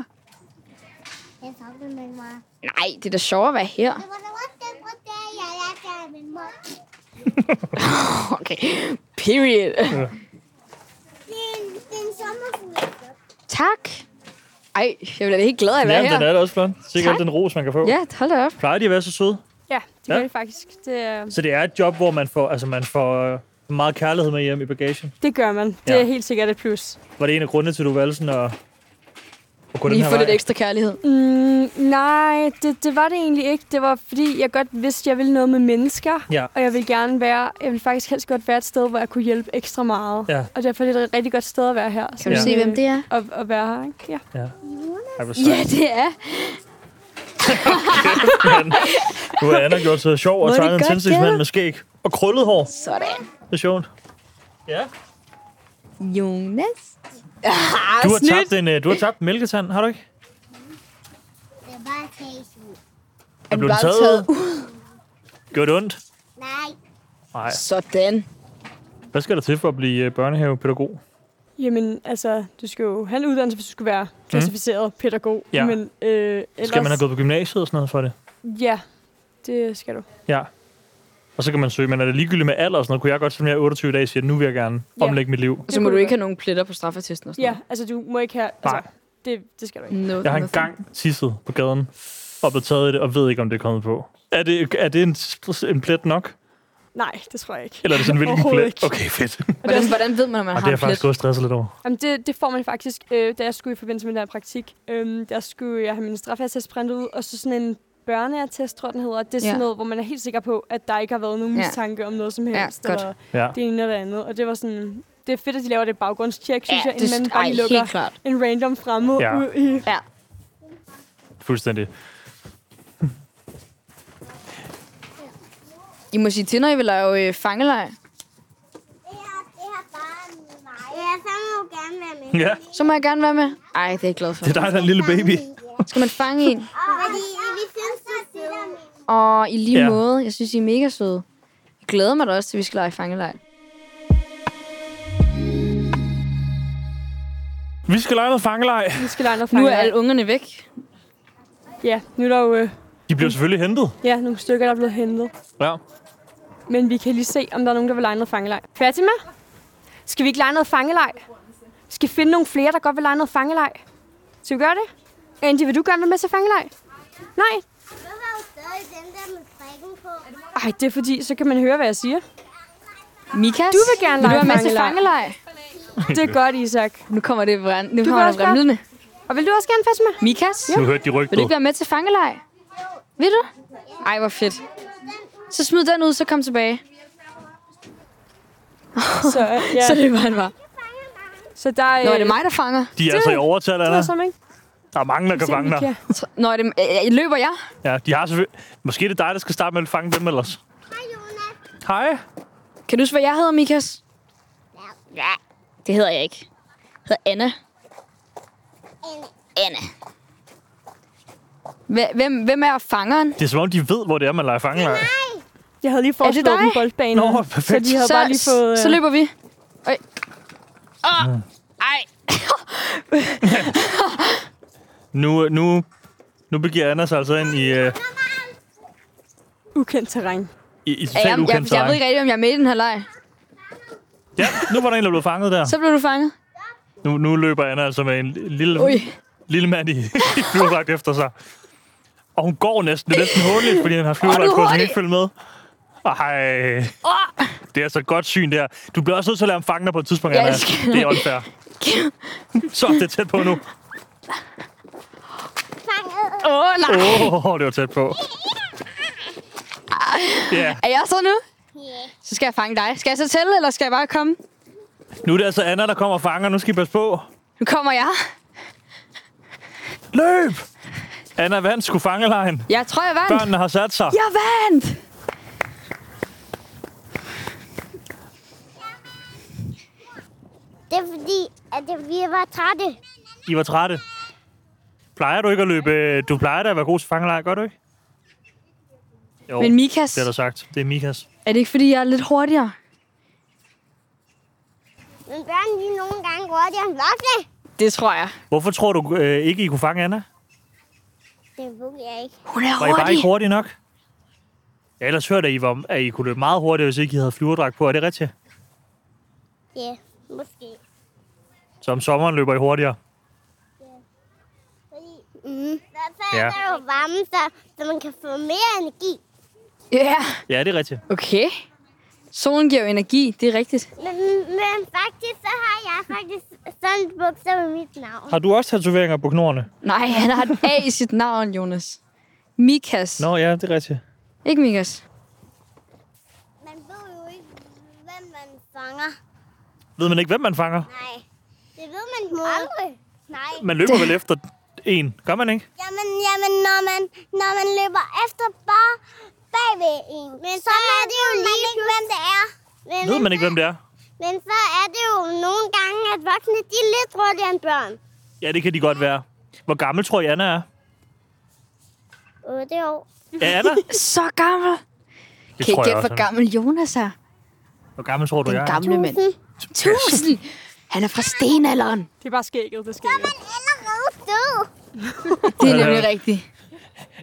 Speaker 5: Jeg savner min mor.
Speaker 2: Nej, det er da sjovt at være her. (laughs)
Speaker 5: Det var da også den grund, der jeg lærte af min mor.
Speaker 2: Okay, period.
Speaker 5: Det er en, det er en sommerfugl.
Speaker 2: Tak. Ej, jeg bliver da helt glad af at være
Speaker 1: Jamen, den
Speaker 2: her.
Speaker 1: er da også flot. Sikkert alt
Speaker 2: Tak.
Speaker 1: den ros, man kan få.
Speaker 2: Ja, hold da op.
Speaker 1: Plejer de at være så søde?
Speaker 7: Ja, det
Speaker 1: Ja.
Speaker 7: ja. gør det faktisk. Det, øh,
Speaker 1: Så det er et job, hvor man får, altså man får øh, meget kærlighed med hjem i bagagen.
Speaker 7: det gør man. Det
Speaker 1: Ja.
Speaker 7: er helt sikkert et plus.
Speaker 1: Var det en af grundene til, at du valgte sådan at, at gå den
Speaker 2: Lige
Speaker 1: her
Speaker 2: få
Speaker 1: vej?
Speaker 2: lidt ekstra kærlighed.
Speaker 7: Mm, nej, det, det var det egentlig ikke. Det var fordi, jeg godt vidste, at jeg ville noget med mennesker.
Speaker 1: Ja.
Speaker 7: Og jeg ville gerne være, jeg ville faktisk helst godt være et sted, hvor jeg kunne hjælpe ekstra meget.
Speaker 1: Ja.
Speaker 7: Og derfor er det et rigtig godt sted at være her. øh,
Speaker 2: Kan du
Speaker 1: Ja.
Speaker 2: se, hvem det er? (laughs)
Speaker 7: At, at være her, ikke? Ja.
Speaker 1: Ej, hvor
Speaker 2: Ja,
Speaker 1: sejt,
Speaker 2: det er.
Speaker 1: (laughs) mand. Du har Anna gjort sig sjov
Speaker 2: Må
Speaker 1: og
Speaker 2: det
Speaker 1: tegnet en
Speaker 2: godt
Speaker 1: tændstiksmand
Speaker 2: gælde?
Speaker 1: med skæg. Og krøllet hår.
Speaker 2: Sådan.
Speaker 1: Det er sjovt. Ja.
Speaker 2: Jonas.
Speaker 1: Du har, tabt en, øh, du har tabt en mælketand, har du ikke?
Speaker 5: Det er bare tasty.
Speaker 1: Er blev den
Speaker 2: bare
Speaker 1: taget?
Speaker 2: taget ud?
Speaker 1: Gjorde det ondt?
Speaker 5: Nej.
Speaker 1: Nej.
Speaker 2: Sådan.
Speaker 1: Hvad skal der til for at blive øh, børnehavepædagog?
Speaker 7: Jamen, altså, du skal jo have en uddannelse, hvis du skal være klassificeret pædagog.
Speaker 1: Mhm. Ja.
Speaker 7: Men, øh, ellers,
Speaker 1: Skal man have gået på gymnasiet og sådan noget for det?
Speaker 7: Ja, det skal du.
Speaker 1: Ja. Og så kan man søge, men er det ligegyldigt med alder og sådan noget? Kunne jeg godt, som jeg er 28 dage, sige, at nu vil jeg gerne
Speaker 7: Ja.
Speaker 1: omlægge mit liv?
Speaker 2: Og så må du ikke have nogen pletter på straffertesten og sådan
Speaker 7: Ja, altså, du må ikke have... Altså,
Speaker 1: Nej.
Speaker 7: det, det skal du ikke.
Speaker 2: noget.
Speaker 1: Jeg har engang tisset på gaden og blevet taget i det, og ved ikke, om det er kommet på. Er det, er det en, en plet nok?
Speaker 7: Nej, det tror jeg ikke.
Speaker 1: Eller er det sådan en hvilken
Speaker 7: Overhovedet
Speaker 1: plet?
Speaker 7: ikke.
Speaker 1: Okay, fedt.
Speaker 2: Hvordan, hvordan ved man, at man
Speaker 1: Og det
Speaker 2: har
Speaker 1: er jeg
Speaker 2: en plet?
Speaker 1: faktisk gået og stresset lidt over.
Speaker 7: Jamen, det, det får man faktisk, øh, da jeg skulle i forbindelse med den her praktik. Øh, der skulle jeg have min straffertest printet ud, og så sådan en børneattest, tror jeg, den hedder. Det er sådan
Speaker 2: Ja.
Speaker 7: noget, hvor man er helt sikker på, at der ikke har været nogen
Speaker 2: Ja.
Speaker 7: mistanke om noget som
Speaker 2: Ja,
Speaker 7: helst.
Speaker 2: godt.
Speaker 7: eller
Speaker 1: Ja.
Speaker 7: det ene eller det andet. Og det var sådan... Det er fedt, at de laver det baggrundstjek, synes jeg, inden man
Speaker 2: det,
Speaker 7: bare
Speaker 2: ej,
Speaker 7: lige lukker
Speaker 2: helt klart.
Speaker 7: en random fremmed
Speaker 1: Ja.
Speaker 7: ja. ud i...
Speaker 1: Fuldstændig.
Speaker 2: I må sige til, når I vil lave øh, fangelej.
Speaker 5: Det er, det er bare mig. Ja, så må du gerne være med.
Speaker 1: Ja,
Speaker 2: Så må jeg gerne være med. Ej, det er jeg glad for.
Speaker 1: det er dig, der er en lille baby.
Speaker 2: Skal man fange en?
Speaker 5: Fordi vi synes, du er sød.
Speaker 2: Og i lige
Speaker 1: Ja.
Speaker 2: ja. måde, jeg synes, I er mega søde. Jeg glæder mig da også til, at vi skal lege fangelej.
Speaker 1: Vi skal lege noget fangelej.
Speaker 7: Vi skal lege noget
Speaker 2: Nu er
Speaker 7: fangelej.
Speaker 2: alle ungerne væk.
Speaker 7: Ja, nu er der jo øh,
Speaker 1: De bliver selvfølgelig hentet.
Speaker 7: ja, nogle stykker, der er blevet hentet.
Speaker 1: Ja.
Speaker 7: Men vi kan lige se, om der er nogen, der vil lege noget fangelej. Fatima? Skal vi ikke lege noget fangelej? Vi skal finde nogle flere, der godt vil lege noget fangelej. Skal vi gøre det? Andy, vil du gerne være med til fangelej? Nej.
Speaker 5: Du har jo stadig den der med prikken på.
Speaker 7: Ej, det er fordi, så kan man høre, hvad jeg
Speaker 2: (laughs)
Speaker 7: siger.
Speaker 2: Mikas,
Speaker 7: Du vil gerne
Speaker 2: vil du
Speaker 7: lege
Speaker 2: være med til
Speaker 7: fangelej.
Speaker 2: fangelej?
Speaker 7: Det er godt, Isak.
Speaker 2: Nu kommer det vren- nu kommer
Speaker 7: Du vil
Speaker 2: det
Speaker 7: også
Speaker 2: vrimlende.
Speaker 7: Og vil du også gerne,
Speaker 2: (laughs)
Speaker 7: Fatima?
Speaker 2: Mikas,
Speaker 1: Nu hørte de
Speaker 2: vil du ikke
Speaker 1: rygtet.
Speaker 2: være med til fangelej? Vil du? Ej, hvor fedt. Så smid den ud, så kom tilbage.
Speaker 7: Så, øh, ja.
Speaker 2: Så det var han var.
Speaker 7: så der øh,
Speaker 2: Nå, er det mig, der fanger?
Speaker 1: De er altså i overtal,
Speaker 7: Det var
Speaker 1: Anna.
Speaker 7: som, ikke?
Speaker 1: Der er mange, der kan
Speaker 7: Se, om vi
Speaker 1: fange dig.
Speaker 7: kan.
Speaker 2: Så- Nå, er det, øh, løber jeg?
Speaker 1: Ja, de har selvfølgelig... Måske er det dig, der skal starte med at fange dem ellers.
Speaker 5: Hej, Jonas.
Speaker 1: Hej.
Speaker 2: Kan du huske, hvad jeg hedder, Mikas?
Speaker 5: Ja.
Speaker 2: Det hedder jeg ikke. Jeg hedder Anna.
Speaker 5: Anna.
Speaker 2: Anna. Hve- Hvem, hvem er fangeren?
Speaker 1: Det er som om, de ved, hvor det er, man leger fangelej.
Speaker 7: Jeg havde lige
Speaker 2: det
Speaker 7: foreslået
Speaker 2: dig?
Speaker 7: en boldbane.
Speaker 1: Nå, perfekt.
Speaker 7: Så de havde
Speaker 2: så,
Speaker 7: bare lige fået... Øh,
Speaker 2: så løber vi. Øj. Åh, ej.
Speaker 1: Nu, nu, nu begiver Anna sig altså ind i... Øh,
Speaker 7: ukendt terræn.
Speaker 1: I, i
Speaker 2: Ja,
Speaker 1: totalt
Speaker 2: jeg, jeg,
Speaker 1: ukendt
Speaker 2: jeg ved
Speaker 1: terræn.
Speaker 2: ikke rigtig, om jeg er med i den her leg.
Speaker 1: Ja, nu var der en, der blev fanget der.
Speaker 2: Så blev du fanget.
Speaker 1: Nu, nu løber Anna altså med en lille,
Speaker 2: Ui.
Speaker 1: lille mand i, (laughs) i flyverdragt efter sig. Og hun går næsten. Det er næsten hurtigt, fordi han har
Speaker 2: Åh,
Speaker 1: flyverdragt
Speaker 2: du er
Speaker 1: på, så han
Speaker 2: hurtig.
Speaker 1: ikke følge med. Ej. Det er altså et godt syn, der. Du bliver også nødt til at lade ham fange dig på et tidspunkt,
Speaker 2: Ja,
Speaker 1: Anna.
Speaker 2: jeg skal-
Speaker 1: Det er
Speaker 2: (laughs)
Speaker 1: unfair. Så, det er tæt på nu.
Speaker 2: Åh, oh, nej.
Speaker 1: Åh, oh, det var tæt på. Ja, yeah.
Speaker 2: Er jeg så nu? Så skal jeg fange dig. Skal jeg så tælle, eller skal jeg bare komme?
Speaker 1: nu er det altså Anna, der kommer og fanger. Nu skal I passe på.
Speaker 2: Nu kommer jeg.
Speaker 1: Løb! Anna vandt skulle fangelejen.
Speaker 2: Jeg tror, jeg vandt.
Speaker 1: Børnene har sat sig.
Speaker 2: Jeg vandt!
Speaker 5: Det er fordi, at vi var trætte.
Speaker 1: I var trætte. Plejer du ikke at løbe... øh, Du plejer da at være god til fangeleje, gør du ikke? Jo,
Speaker 2: Men Mikas,
Speaker 1: det er der sagt. Det er Mikas.
Speaker 2: er det ikke, fordi jeg er lidt hurtigere?
Speaker 5: Men børn, de er nogle gange hurtigere end voksne.
Speaker 2: Det tror jeg.
Speaker 1: Hvorfor tror du øh, ikke, I kunne fange Anna?
Speaker 5: Det ved jeg ikke.
Speaker 2: Hun er
Speaker 1: Var I bare
Speaker 2: hurtig.
Speaker 1: ikke hurtige nok? Jeg har ellers hørt, at I, var, at I kunne løbe meget hurtigt, hvis ikke I havde flyverdragt på. Er det rigtigt?
Speaker 5: Ja, måske.
Speaker 1: Så om sommeren løber I hurtigere.
Speaker 5: Fordi, mm. I hvert fald
Speaker 1: Ja.
Speaker 5: er der jo varme, så, så man kan få mere energi.
Speaker 2: Ja. Yeah.
Speaker 1: Ja, det er rigtigt.
Speaker 2: Okay. Solen giver jo energi, det er rigtigt.
Speaker 5: Men, men faktisk, så har jeg faktisk sådan et bukser med mit navn.
Speaker 1: Har du også tatoveringer på knorene?
Speaker 2: Nej, han har et A i sit navn, Jonas. Mikas.
Speaker 1: Nå ja, det er rigtigt.
Speaker 2: Ikke Mikas.
Speaker 5: Man ved jo ikke, hvem man fanger.
Speaker 1: Ved man ikke, hvem man fanger?
Speaker 5: Nej, det ved man aldrig. Nej.
Speaker 1: Man løber vel efter en. Gør man ikke?
Speaker 5: Jamen, jamen, når man, når man løber efter bare bagved en, men så, er det jo lige ikke, hvem det er. Men,
Speaker 1: Ved man ikke, hvem det er?
Speaker 5: men så er det jo nogle gange, at voksne de er lidt hurtigere end børn.
Speaker 1: Ja, det kan de godt være. Hvor gammel tror I, Anna er?
Speaker 5: 8 år.
Speaker 1: Er (laughs) Anna?
Speaker 2: Så gammel.
Speaker 1: Det
Speaker 2: kan I
Speaker 1: jeg
Speaker 2: gætte,
Speaker 1: også,
Speaker 2: hvor
Speaker 1: han er.
Speaker 2: gammel Jonas er?
Speaker 1: Hvor gammel tror du, jeg
Speaker 3: Den
Speaker 1: er?
Speaker 3: gamle mand.
Speaker 1: Tusind.
Speaker 2: Tusind. Han er fra stenalderen.
Speaker 7: Det er bare skægget, det er skægget.
Speaker 5: Men allerede død.
Speaker 2: Det er
Speaker 1: Ja.
Speaker 2: nemlig rigtigt.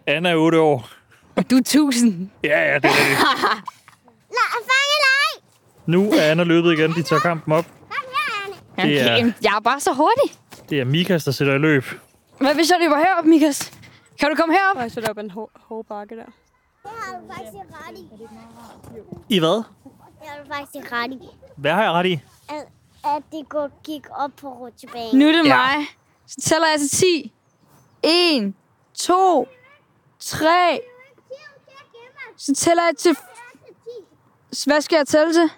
Speaker 1: Anna er 8 år.
Speaker 2: Og du er tusind.
Speaker 1: Ja, ja, det er det.
Speaker 5: Lad fange leg.
Speaker 1: (laughs) Nu er Anna løbet igen. De tager kampen op.
Speaker 5: Kom her, Anne.
Speaker 1: Det er-
Speaker 2: Jamen, Jeg er bare så hurtig.
Speaker 1: Det er Mikas, der sætter i løb.
Speaker 2: Hvad hvis jeg løber herop, Mikas? Kan du komme herop?
Speaker 7: Og så er der op en hår, hård bakke der.
Speaker 5: Det har du faktisk ret i.
Speaker 1: I hvad?
Speaker 5: Det har du faktisk ret i.
Speaker 1: Hvad har jeg ret i?
Speaker 5: At, at det går, gik op på rutsjebanen.
Speaker 2: Nu er det
Speaker 1: Ja.
Speaker 2: mig. Så tæller jeg til 10. 1, 2, 3. Så tæller jeg til... Hvad skal jeg tælle til?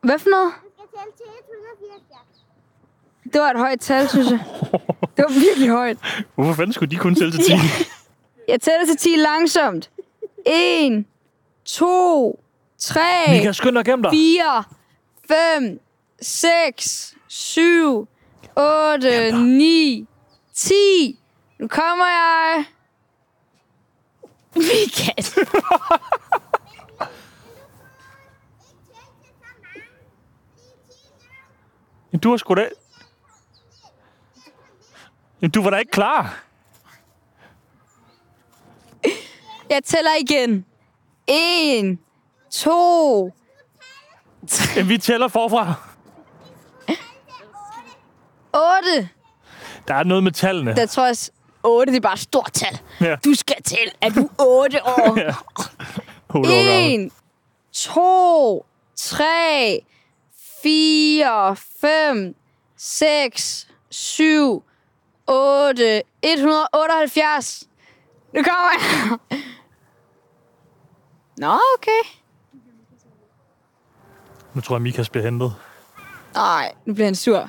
Speaker 2: Hvad for noget? Det var et højt tal, synes jeg. Det var virkelig højt.
Speaker 1: Hvorfor fanden skulle de kun tælle til 10? (laughs)
Speaker 2: Jeg tæller til 10 langsomt. 1, 2, 3,
Speaker 1: Mikas, skynd dig gennem dig.
Speaker 2: 4, 5, 6, 7, 8, 9, 10. Nu kommer jeg. Mikas.
Speaker 1: Men Du har sgu da... Men Du var da ikke klar.
Speaker 2: Jeg tæller igen. 1, 2,
Speaker 1: Jamen, vi tæller forfra.
Speaker 2: 8.
Speaker 1: Der er noget med tallene.
Speaker 2: Der tror jeg, 8 det er bare et stort tal.
Speaker 1: Ja.
Speaker 2: Du skal til, at du er 8 år.
Speaker 1: (laughs) (laughs) Ja. 8 år gammel.
Speaker 2: 1, 2, 3, 4, 5, 6, 7, 8, 178. Nu kommer jeg. Nå, okay.
Speaker 1: Nu tror jeg, Mikas bliver hentet.
Speaker 2: Nej, nu bliver han sur.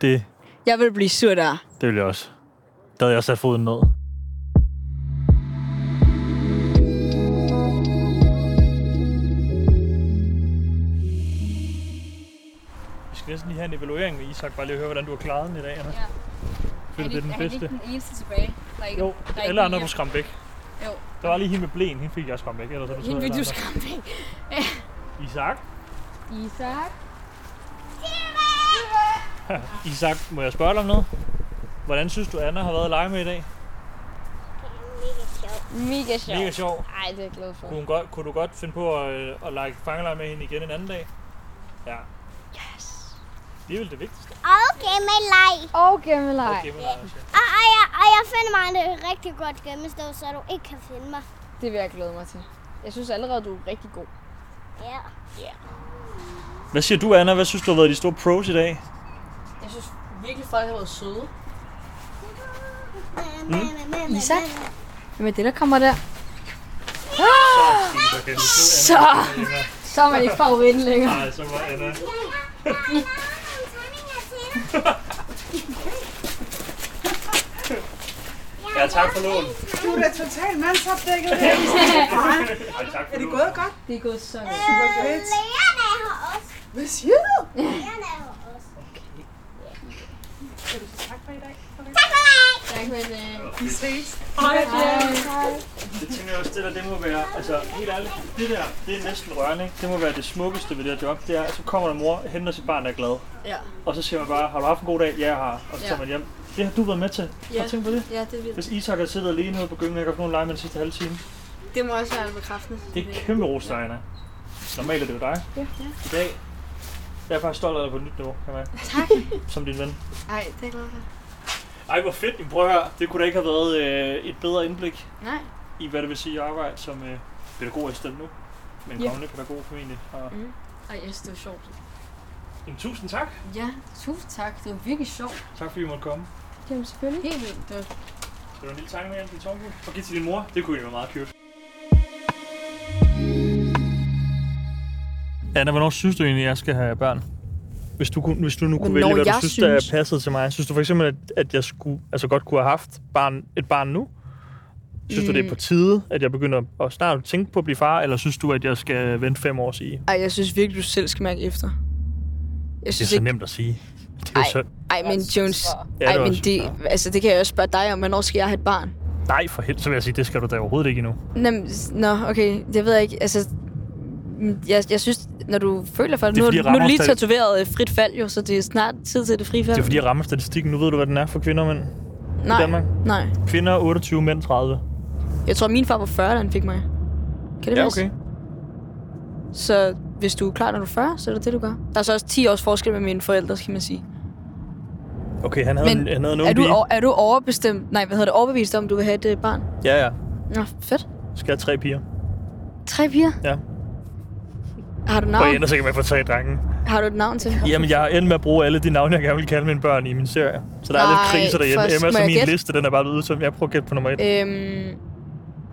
Speaker 1: Det,
Speaker 2: Jeg vil blive sur der.
Speaker 1: det vil jeg også. Der havde jeg også sat foden ned. Vi skal næsten lige have en evaluering med Isak, bare lige høre, hvordan du har klaret den i dag, Anna. Ja. Føler du, det er den bedste?
Speaker 2: eneste tilbage? Der er ikke,
Speaker 1: Jo,
Speaker 2: der er
Speaker 1: alle
Speaker 2: ikke
Speaker 1: andre
Speaker 2: mere.
Speaker 1: kunne skræmme væk.
Speaker 2: Jo.
Speaker 1: Der var lige hende med blæen, hende fik jeg skræmt væk. Ellers er det
Speaker 2: Hende vil du skræmme
Speaker 1: væk. Isak?
Speaker 2: Isak.
Speaker 1: (laughs) Isak, må jeg spørge dig om noget? Hvordan synes du, Anna har været at lege med i dag?
Speaker 5: Det er mega sjovt.
Speaker 8: Mega sjovt.
Speaker 1: Mega sjov.
Speaker 8: Ej, det er jeg glad for.
Speaker 1: Kunne, hun godt, kunne du godt finde på at, øh, at lege fangelej med hende igen en anden dag? Ja.
Speaker 8: Yes.
Speaker 1: Det er vel det vigtigste.
Speaker 5: Okay, med leg.
Speaker 8: Og gemmeleg.
Speaker 1: Okay, men altså.
Speaker 5: Og, og, jeg, og jeg finder mig et rigtig godt gemmested, så du ikke kan finde mig.
Speaker 8: Det vil jeg glæde mig til. Jeg synes allerede, du er rigtig god.
Speaker 5: Ja.
Speaker 1: Hvad siger du, Anna? Hvad synes du har været de store pros i dag?
Speaker 8: Jeg synes virkelig, folk har været søde.
Speaker 5: Mm.
Speaker 8: Isak? Hvem er det, der kommer der?
Speaker 1: Så!
Speaker 8: Så er man ikke favoritten længere.
Speaker 1: Nej, så var Anna. Ja, tak for lån.
Speaker 6: Du er da totalt mandsopdækket her.
Speaker 1: Ej, tak for
Speaker 6: Er det
Speaker 1: lån.
Speaker 6: gået godt?
Speaker 8: Det er gået så godt.
Speaker 6: Super fedt.
Speaker 5: Lærerne er her også.
Speaker 6: Hvad siger du?
Speaker 5: Lærerne er her også.
Speaker 6: Tak for i dag.
Speaker 5: Tak for mig.
Speaker 8: Tak for det.
Speaker 6: Vi ses.
Speaker 1: Det tænker jeg også, det der, det må være, altså helt ærligt, det der, det er næsten rørende, ikke? Det må være det smukkeste ved det her job, det er, at så kommer der mor, henter sit barn, der er glad.
Speaker 8: Ja.
Speaker 1: Og så siger man bare, har du haft en god dag? Ja, jeg har. Og så
Speaker 8: Ja.
Speaker 1: tager man hjem. Det har du været med til. Har
Speaker 8: Ja.
Speaker 1: du tænkt på det?
Speaker 8: Ja, det er vildt.
Speaker 1: Hvis Isak har siddet alene ude på gyngen, og ikke haft nogen lege med den sidste halve time,
Speaker 8: Det må også være bekræftende.
Speaker 1: det er et kæmpe ros til Ejner. Normalt er det jo dig. Ja. I dag, jeg er faktisk stolt af dig på et nyt niveau, kan man. Tak. Som din ven.
Speaker 8: Ej, det er jeg glad for.
Speaker 1: Ej, hvor fedt. Jamen, Prøv at høre. Det kunne da ikke have været øh, et bedre indblik
Speaker 8: Nej.
Speaker 1: i, hvad det vil sige at arbejde som øh, pædagogassistent nu. Men
Speaker 8: Ja. Mm.
Speaker 1: kommende pædagog formentlig. Og...
Speaker 8: Ej, jeg synes, det var sjovt.
Speaker 1: Jamen, tusind tak.
Speaker 8: Ja, tusind tak. Det var virkelig sjovt.
Speaker 1: Tak fordi I måtte komme.
Speaker 7: Jamen selvfølgelig.
Speaker 8: Helt vildt. Det var
Speaker 1: Det var en lille tanke med hjem til Tornby. Og give til din mor. Det kunne egentlig være meget cute. Anna, hvornår synes du egentlig, at jeg skal have børn? Hvis du, kunne, hvis du nu kunne
Speaker 2: Hvornår
Speaker 1: vælge, hvad du
Speaker 2: jeg
Speaker 1: synes, synes,
Speaker 2: synes?
Speaker 1: der passede til mig. Synes du for eksempel, at, at jeg skulle, altså godt kunne have haft barn, et barn nu? Synes mm. du, det er på tide, at jeg begynder at snart tænke på at blive far? Eller synes du, at jeg skal vente fem år og sige?
Speaker 2: Ej, jeg synes virkelig, du selv skal mærke efter. Jeg
Speaker 1: Det er
Speaker 2: synes
Speaker 1: så
Speaker 2: ikke...
Speaker 1: nemt at sige. Det er jo
Speaker 2: Ej.
Speaker 1: så...
Speaker 2: Ej, men Jones...
Speaker 1: Ja,
Speaker 2: Ej,
Speaker 1: det er
Speaker 2: men
Speaker 1: også-
Speaker 2: det, altså, det kan jeg også spørge dig om. Hvornår skal jeg have et barn?
Speaker 1: Nej, for helvede, så vil jeg sige, det skal du da overhovedet ikke endnu.
Speaker 2: Nem, nå, okay. Det ved jeg ikke. Altså, mm, jeg, jeg synes, når du føler for det...
Speaker 1: Det er
Speaker 2: Nu,
Speaker 1: fordi,
Speaker 2: nu er du lige
Speaker 1: rammer-
Speaker 2: tatoveret øh, frit fald, jo, så det er snart tid til det frie fald.
Speaker 1: Det er fordi, jeg rammer statistikken. Nu ved du, hvad den er for kvinder og mænd
Speaker 2: Nej,
Speaker 1: i Danmark.
Speaker 2: nej.
Speaker 1: Kvinder 28, mænd 30.
Speaker 2: Jeg tror, min far var 40, da han fik mig. Kan det
Speaker 1: Ja,
Speaker 2: passe?
Speaker 1: okay.
Speaker 2: Så hvis du er klar, når du er 40, så er det det, du gør. Der er så også 10 års forskel med mine forældre, kan man sige.
Speaker 1: Okay, han havde,
Speaker 2: Men
Speaker 1: en, han havde en
Speaker 2: Er
Speaker 1: ung
Speaker 2: du,
Speaker 1: pige.
Speaker 2: over, er du overbestemt, nej, hvad hedder det, overbevist om, du vil have et øh, barn?
Speaker 1: Ja, ja.
Speaker 2: Nå, fedt.
Speaker 1: Skal jeg have tre piger.
Speaker 2: Tre piger?
Speaker 1: Ja.
Speaker 2: Har du
Speaker 1: Og jeg
Speaker 2: navn?
Speaker 1: ender sikkert med at få tre drenge.
Speaker 2: Har du et navn til?
Speaker 1: Jamen, jeg er endt med at bruge alle de navne, jeg gerne vil kalde mine børn i min serie. Så der er lidt
Speaker 2: Nej,
Speaker 1: kriser derhjemme.
Speaker 2: først
Speaker 1: Emma,
Speaker 2: må
Speaker 1: så
Speaker 2: jeg
Speaker 1: min
Speaker 2: gætte.
Speaker 1: liste, den er bare blevet udtømt. Jeg prøver at gætte på nummer et.
Speaker 2: Øhm,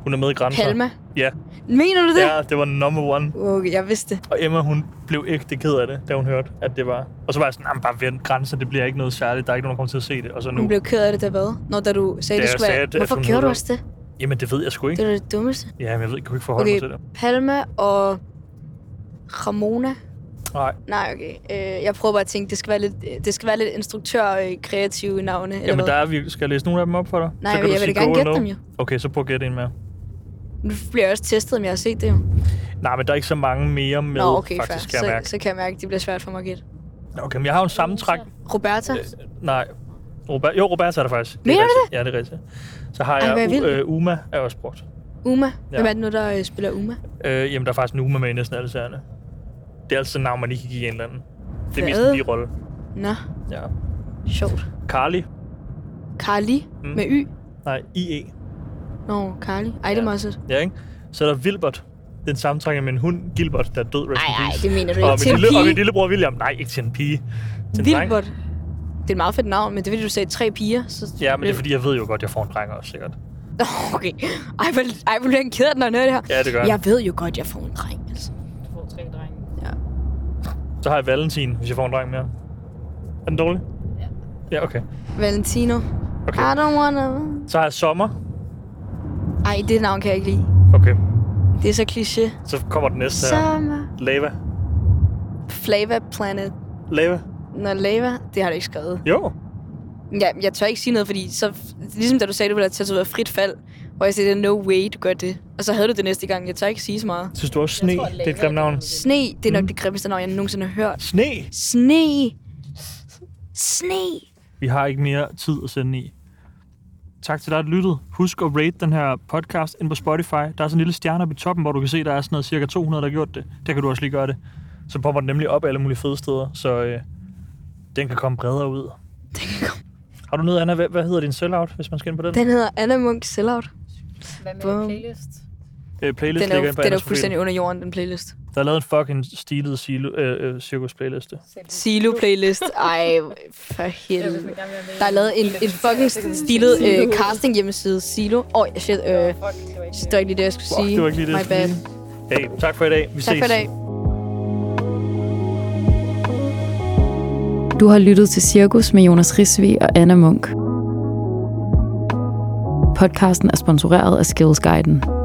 Speaker 1: Hun er med i grænser.
Speaker 2: Palma.
Speaker 1: Ja.
Speaker 2: Mener du det?
Speaker 1: Ja, det var number one.
Speaker 2: Okay, jeg vidste det.
Speaker 1: Og Emma, hun blev ægte ked af det, da hun hørte, at det var... Og så var jeg sådan, "Jamen, bare vent, grænser, det bliver ikke noget særligt. Der er ikke nogen, der kommer til at se det. Og så nu...
Speaker 2: Hun blev ked af det, der hvad? Når da du
Speaker 1: Da
Speaker 2: sagde, det
Speaker 1: jeg
Speaker 2: skulle
Speaker 1: sagde,
Speaker 2: være...
Speaker 1: at- at
Speaker 2: Hvorfor
Speaker 1: hun
Speaker 2: gjorde du
Speaker 1: hedder-
Speaker 2: også det?
Speaker 1: Jamen, det ved jeg sgu
Speaker 2: Det
Speaker 1: ikke.
Speaker 2: var det dummeste.
Speaker 1: Ja, men jeg ved, jeg kunne ikke forholde
Speaker 2: Okay.
Speaker 1: mig til det.
Speaker 2: Palma og Ramona.
Speaker 1: Nej.
Speaker 2: Nej, okay. Øh, jeg prøver bare at tænke, det skal være lidt, øh, det skal være lidt instruktør-kreative navne. eller
Speaker 1: Jamen,
Speaker 2: hvad?
Speaker 1: der er virkelig... Skal jeg læse nogle af dem op for dig?
Speaker 2: Nej,
Speaker 1: så
Speaker 2: jeg,
Speaker 1: kan du
Speaker 2: jeg vil
Speaker 1: sige
Speaker 2: da gerne
Speaker 1: go
Speaker 2: gætte
Speaker 1: eller
Speaker 2: dem
Speaker 1: no.
Speaker 2: jo.
Speaker 1: Okay, så prøv at gætte en mere.
Speaker 2: Nu bliver jeg også testet, om jeg har set det jo.
Speaker 1: Nej, men der er ikke så mange mere med,
Speaker 2: Nå, okay,
Speaker 1: faktisk,
Speaker 2: fair.
Speaker 1: kan jeg
Speaker 2: Så,
Speaker 1: mærke.
Speaker 2: så kan jeg mærke, at det bliver svært for mig at gætte.
Speaker 1: Nå, Okay, men jeg har jo en sammentræk. Øh,
Speaker 2: Roberta?
Speaker 1: Nej. Robert, jo, Roberta er der faktisk.
Speaker 2: Mener du
Speaker 1: det? er rigtigt. Ja, det er rigtigt. Så har
Speaker 2: Ej, hvor
Speaker 1: jeg
Speaker 2: er
Speaker 1: U-
Speaker 2: vildt.
Speaker 1: øh, Uma, er også brugt.
Speaker 2: Uma? Hvem
Speaker 1: Ja.
Speaker 2: er det nu, der øh, spiller Uma?
Speaker 1: Øh, jamen, der er faktisk en Uma med i næsten alle serierne. Det er altså et navn, man ikke kan give en eller anden. Det er mest
Speaker 2: Hvad?
Speaker 1: en birolle.
Speaker 2: Nå,
Speaker 1: Ja.
Speaker 2: sjovt.
Speaker 1: Carly.
Speaker 2: Carly
Speaker 1: Mm.
Speaker 2: med Y?
Speaker 1: Nej, IE.
Speaker 2: Nå, Carly. Ej, det er
Speaker 1: Ja.
Speaker 2: meget sødt.
Speaker 1: Ja, ikke? Så er der Wilbert. Den sammentrækker med en hund, Gilbert, der er død. Rest
Speaker 2: Ej,
Speaker 1: in
Speaker 2: ej,
Speaker 1: peace.
Speaker 2: det mener du
Speaker 1: og,
Speaker 2: ikke. Til
Speaker 1: min
Speaker 2: en
Speaker 1: lille, og min
Speaker 2: pige.
Speaker 1: lillebror William. Nej, ikke til en pige. Til en dreng.
Speaker 2: Vildt Det er et meget fedt navn, men det ved du sagde tre piger. Så...
Speaker 1: Ja, men det er fordi, jeg ved jo godt, jeg får en dreng også, sikkert.
Speaker 2: Nå, okay. Ej, hvor, ej, hvor bliver han ked af, det, når han hører det her.
Speaker 1: Ja, det gør jeg.
Speaker 2: Jeg ved jo godt, jeg får en dreng, altså.
Speaker 8: Du får tre drenge.
Speaker 1: Så har jeg Valentin, hvis jeg får en dreng mere. Er den dårlig? Ja. Ja, okay.
Speaker 2: Valentino.
Speaker 1: Okay.
Speaker 8: Ah.
Speaker 2: I don't wanna...
Speaker 1: Så har jeg Sommer.
Speaker 2: Ej, det navn kan jeg ikke lide.
Speaker 1: Okay.
Speaker 2: Det er så kliché.
Speaker 1: Så kommer den næste her.
Speaker 2: Summer.
Speaker 1: Lava.
Speaker 2: Flava Planet.
Speaker 1: Lava.
Speaker 2: Når lava, det har du ikke skrevet.
Speaker 1: Jo.
Speaker 2: Ja, jeg tør ikke sige noget, fordi så, ligesom da du sagde, du ville have tatoveret frit fald, hvor jeg sagde, det er no way, du gør det. Og så havde du det næste gang. Jeg tør ikke sige så meget.
Speaker 1: Synes du også Sne?
Speaker 8: tror,
Speaker 1: det er et
Speaker 8: Lava
Speaker 1: grimt
Speaker 8: er
Speaker 1: navn.
Speaker 2: Sne, det er nok
Speaker 1: Mm.
Speaker 2: det grimmeste navn, jeg nogensinde har hørt.
Speaker 1: Sne!
Speaker 2: Sne. Sne.
Speaker 1: Vi har ikke mere tid at sende i. Tak til dig, der lyttede. Husk at rate den her podcast ind på Spotify. Der er sådan en lille stjerne oppe i toppen, hvor du kan se, der er sådan noget cirka 200, der har gjort det. Der kan du også lige gøre det. Så popper den nemlig op alle mulige fede steder, så øh, den kan komme bredere ud. Den kan komme. Har du noget, Anna? Hvad, hvad hedder din sellout, hvis man skal ind på den?
Speaker 2: Den hedder Anna Munk Sellout.
Speaker 8: Hvad med
Speaker 2: Bum.
Speaker 8: playlist?
Speaker 1: øh, playlist
Speaker 2: Den er,
Speaker 1: ligger
Speaker 2: jo,
Speaker 1: inde på
Speaker 2: den er jo
Speaker 1: Annas profil.
Speaker 2: fuldstændig under jorden, den playlist.
Speaker 1: Der er lavet en fucking stilet silo, øh, øh, cirkus playliste.
Speaker 2: Silo-playlist. Ej, for
Speaker 8: Hvis
Speaker 2: helvede.
Speaker 8: man gerne vil have med
Speaker 2: Der er
Speaker 8: i-
Speaker 2: lavet en,
Speaker 8: i-
Speaker 2: en fucking stilet øh, casting hjemmeside. Silo. Åh, oh, shit.
Speaker 8: Fuck,
Speaker 2: Øh,
Speaker 8: det var ikke
Speaker 2: det var ikke lige det, jeg skulle
Speaker 1: Fuck,
Speaker 2: sige.
Speaker 1: det var ikke lige det,
Speaker 2: My
Speaker 1: jeg skulle
Speaker 2: bad.
Speaker 1: sige. Hey, tak for i dag. Vi
Speaker 2: Tak
Speaker 1: ses.
Speaker 2: for i dag.
Speaker 3: Du har lyttet til Cirkus med Jonas Risvi og Anna Munk. Podcasten er sponsoreret af Skillsguiden.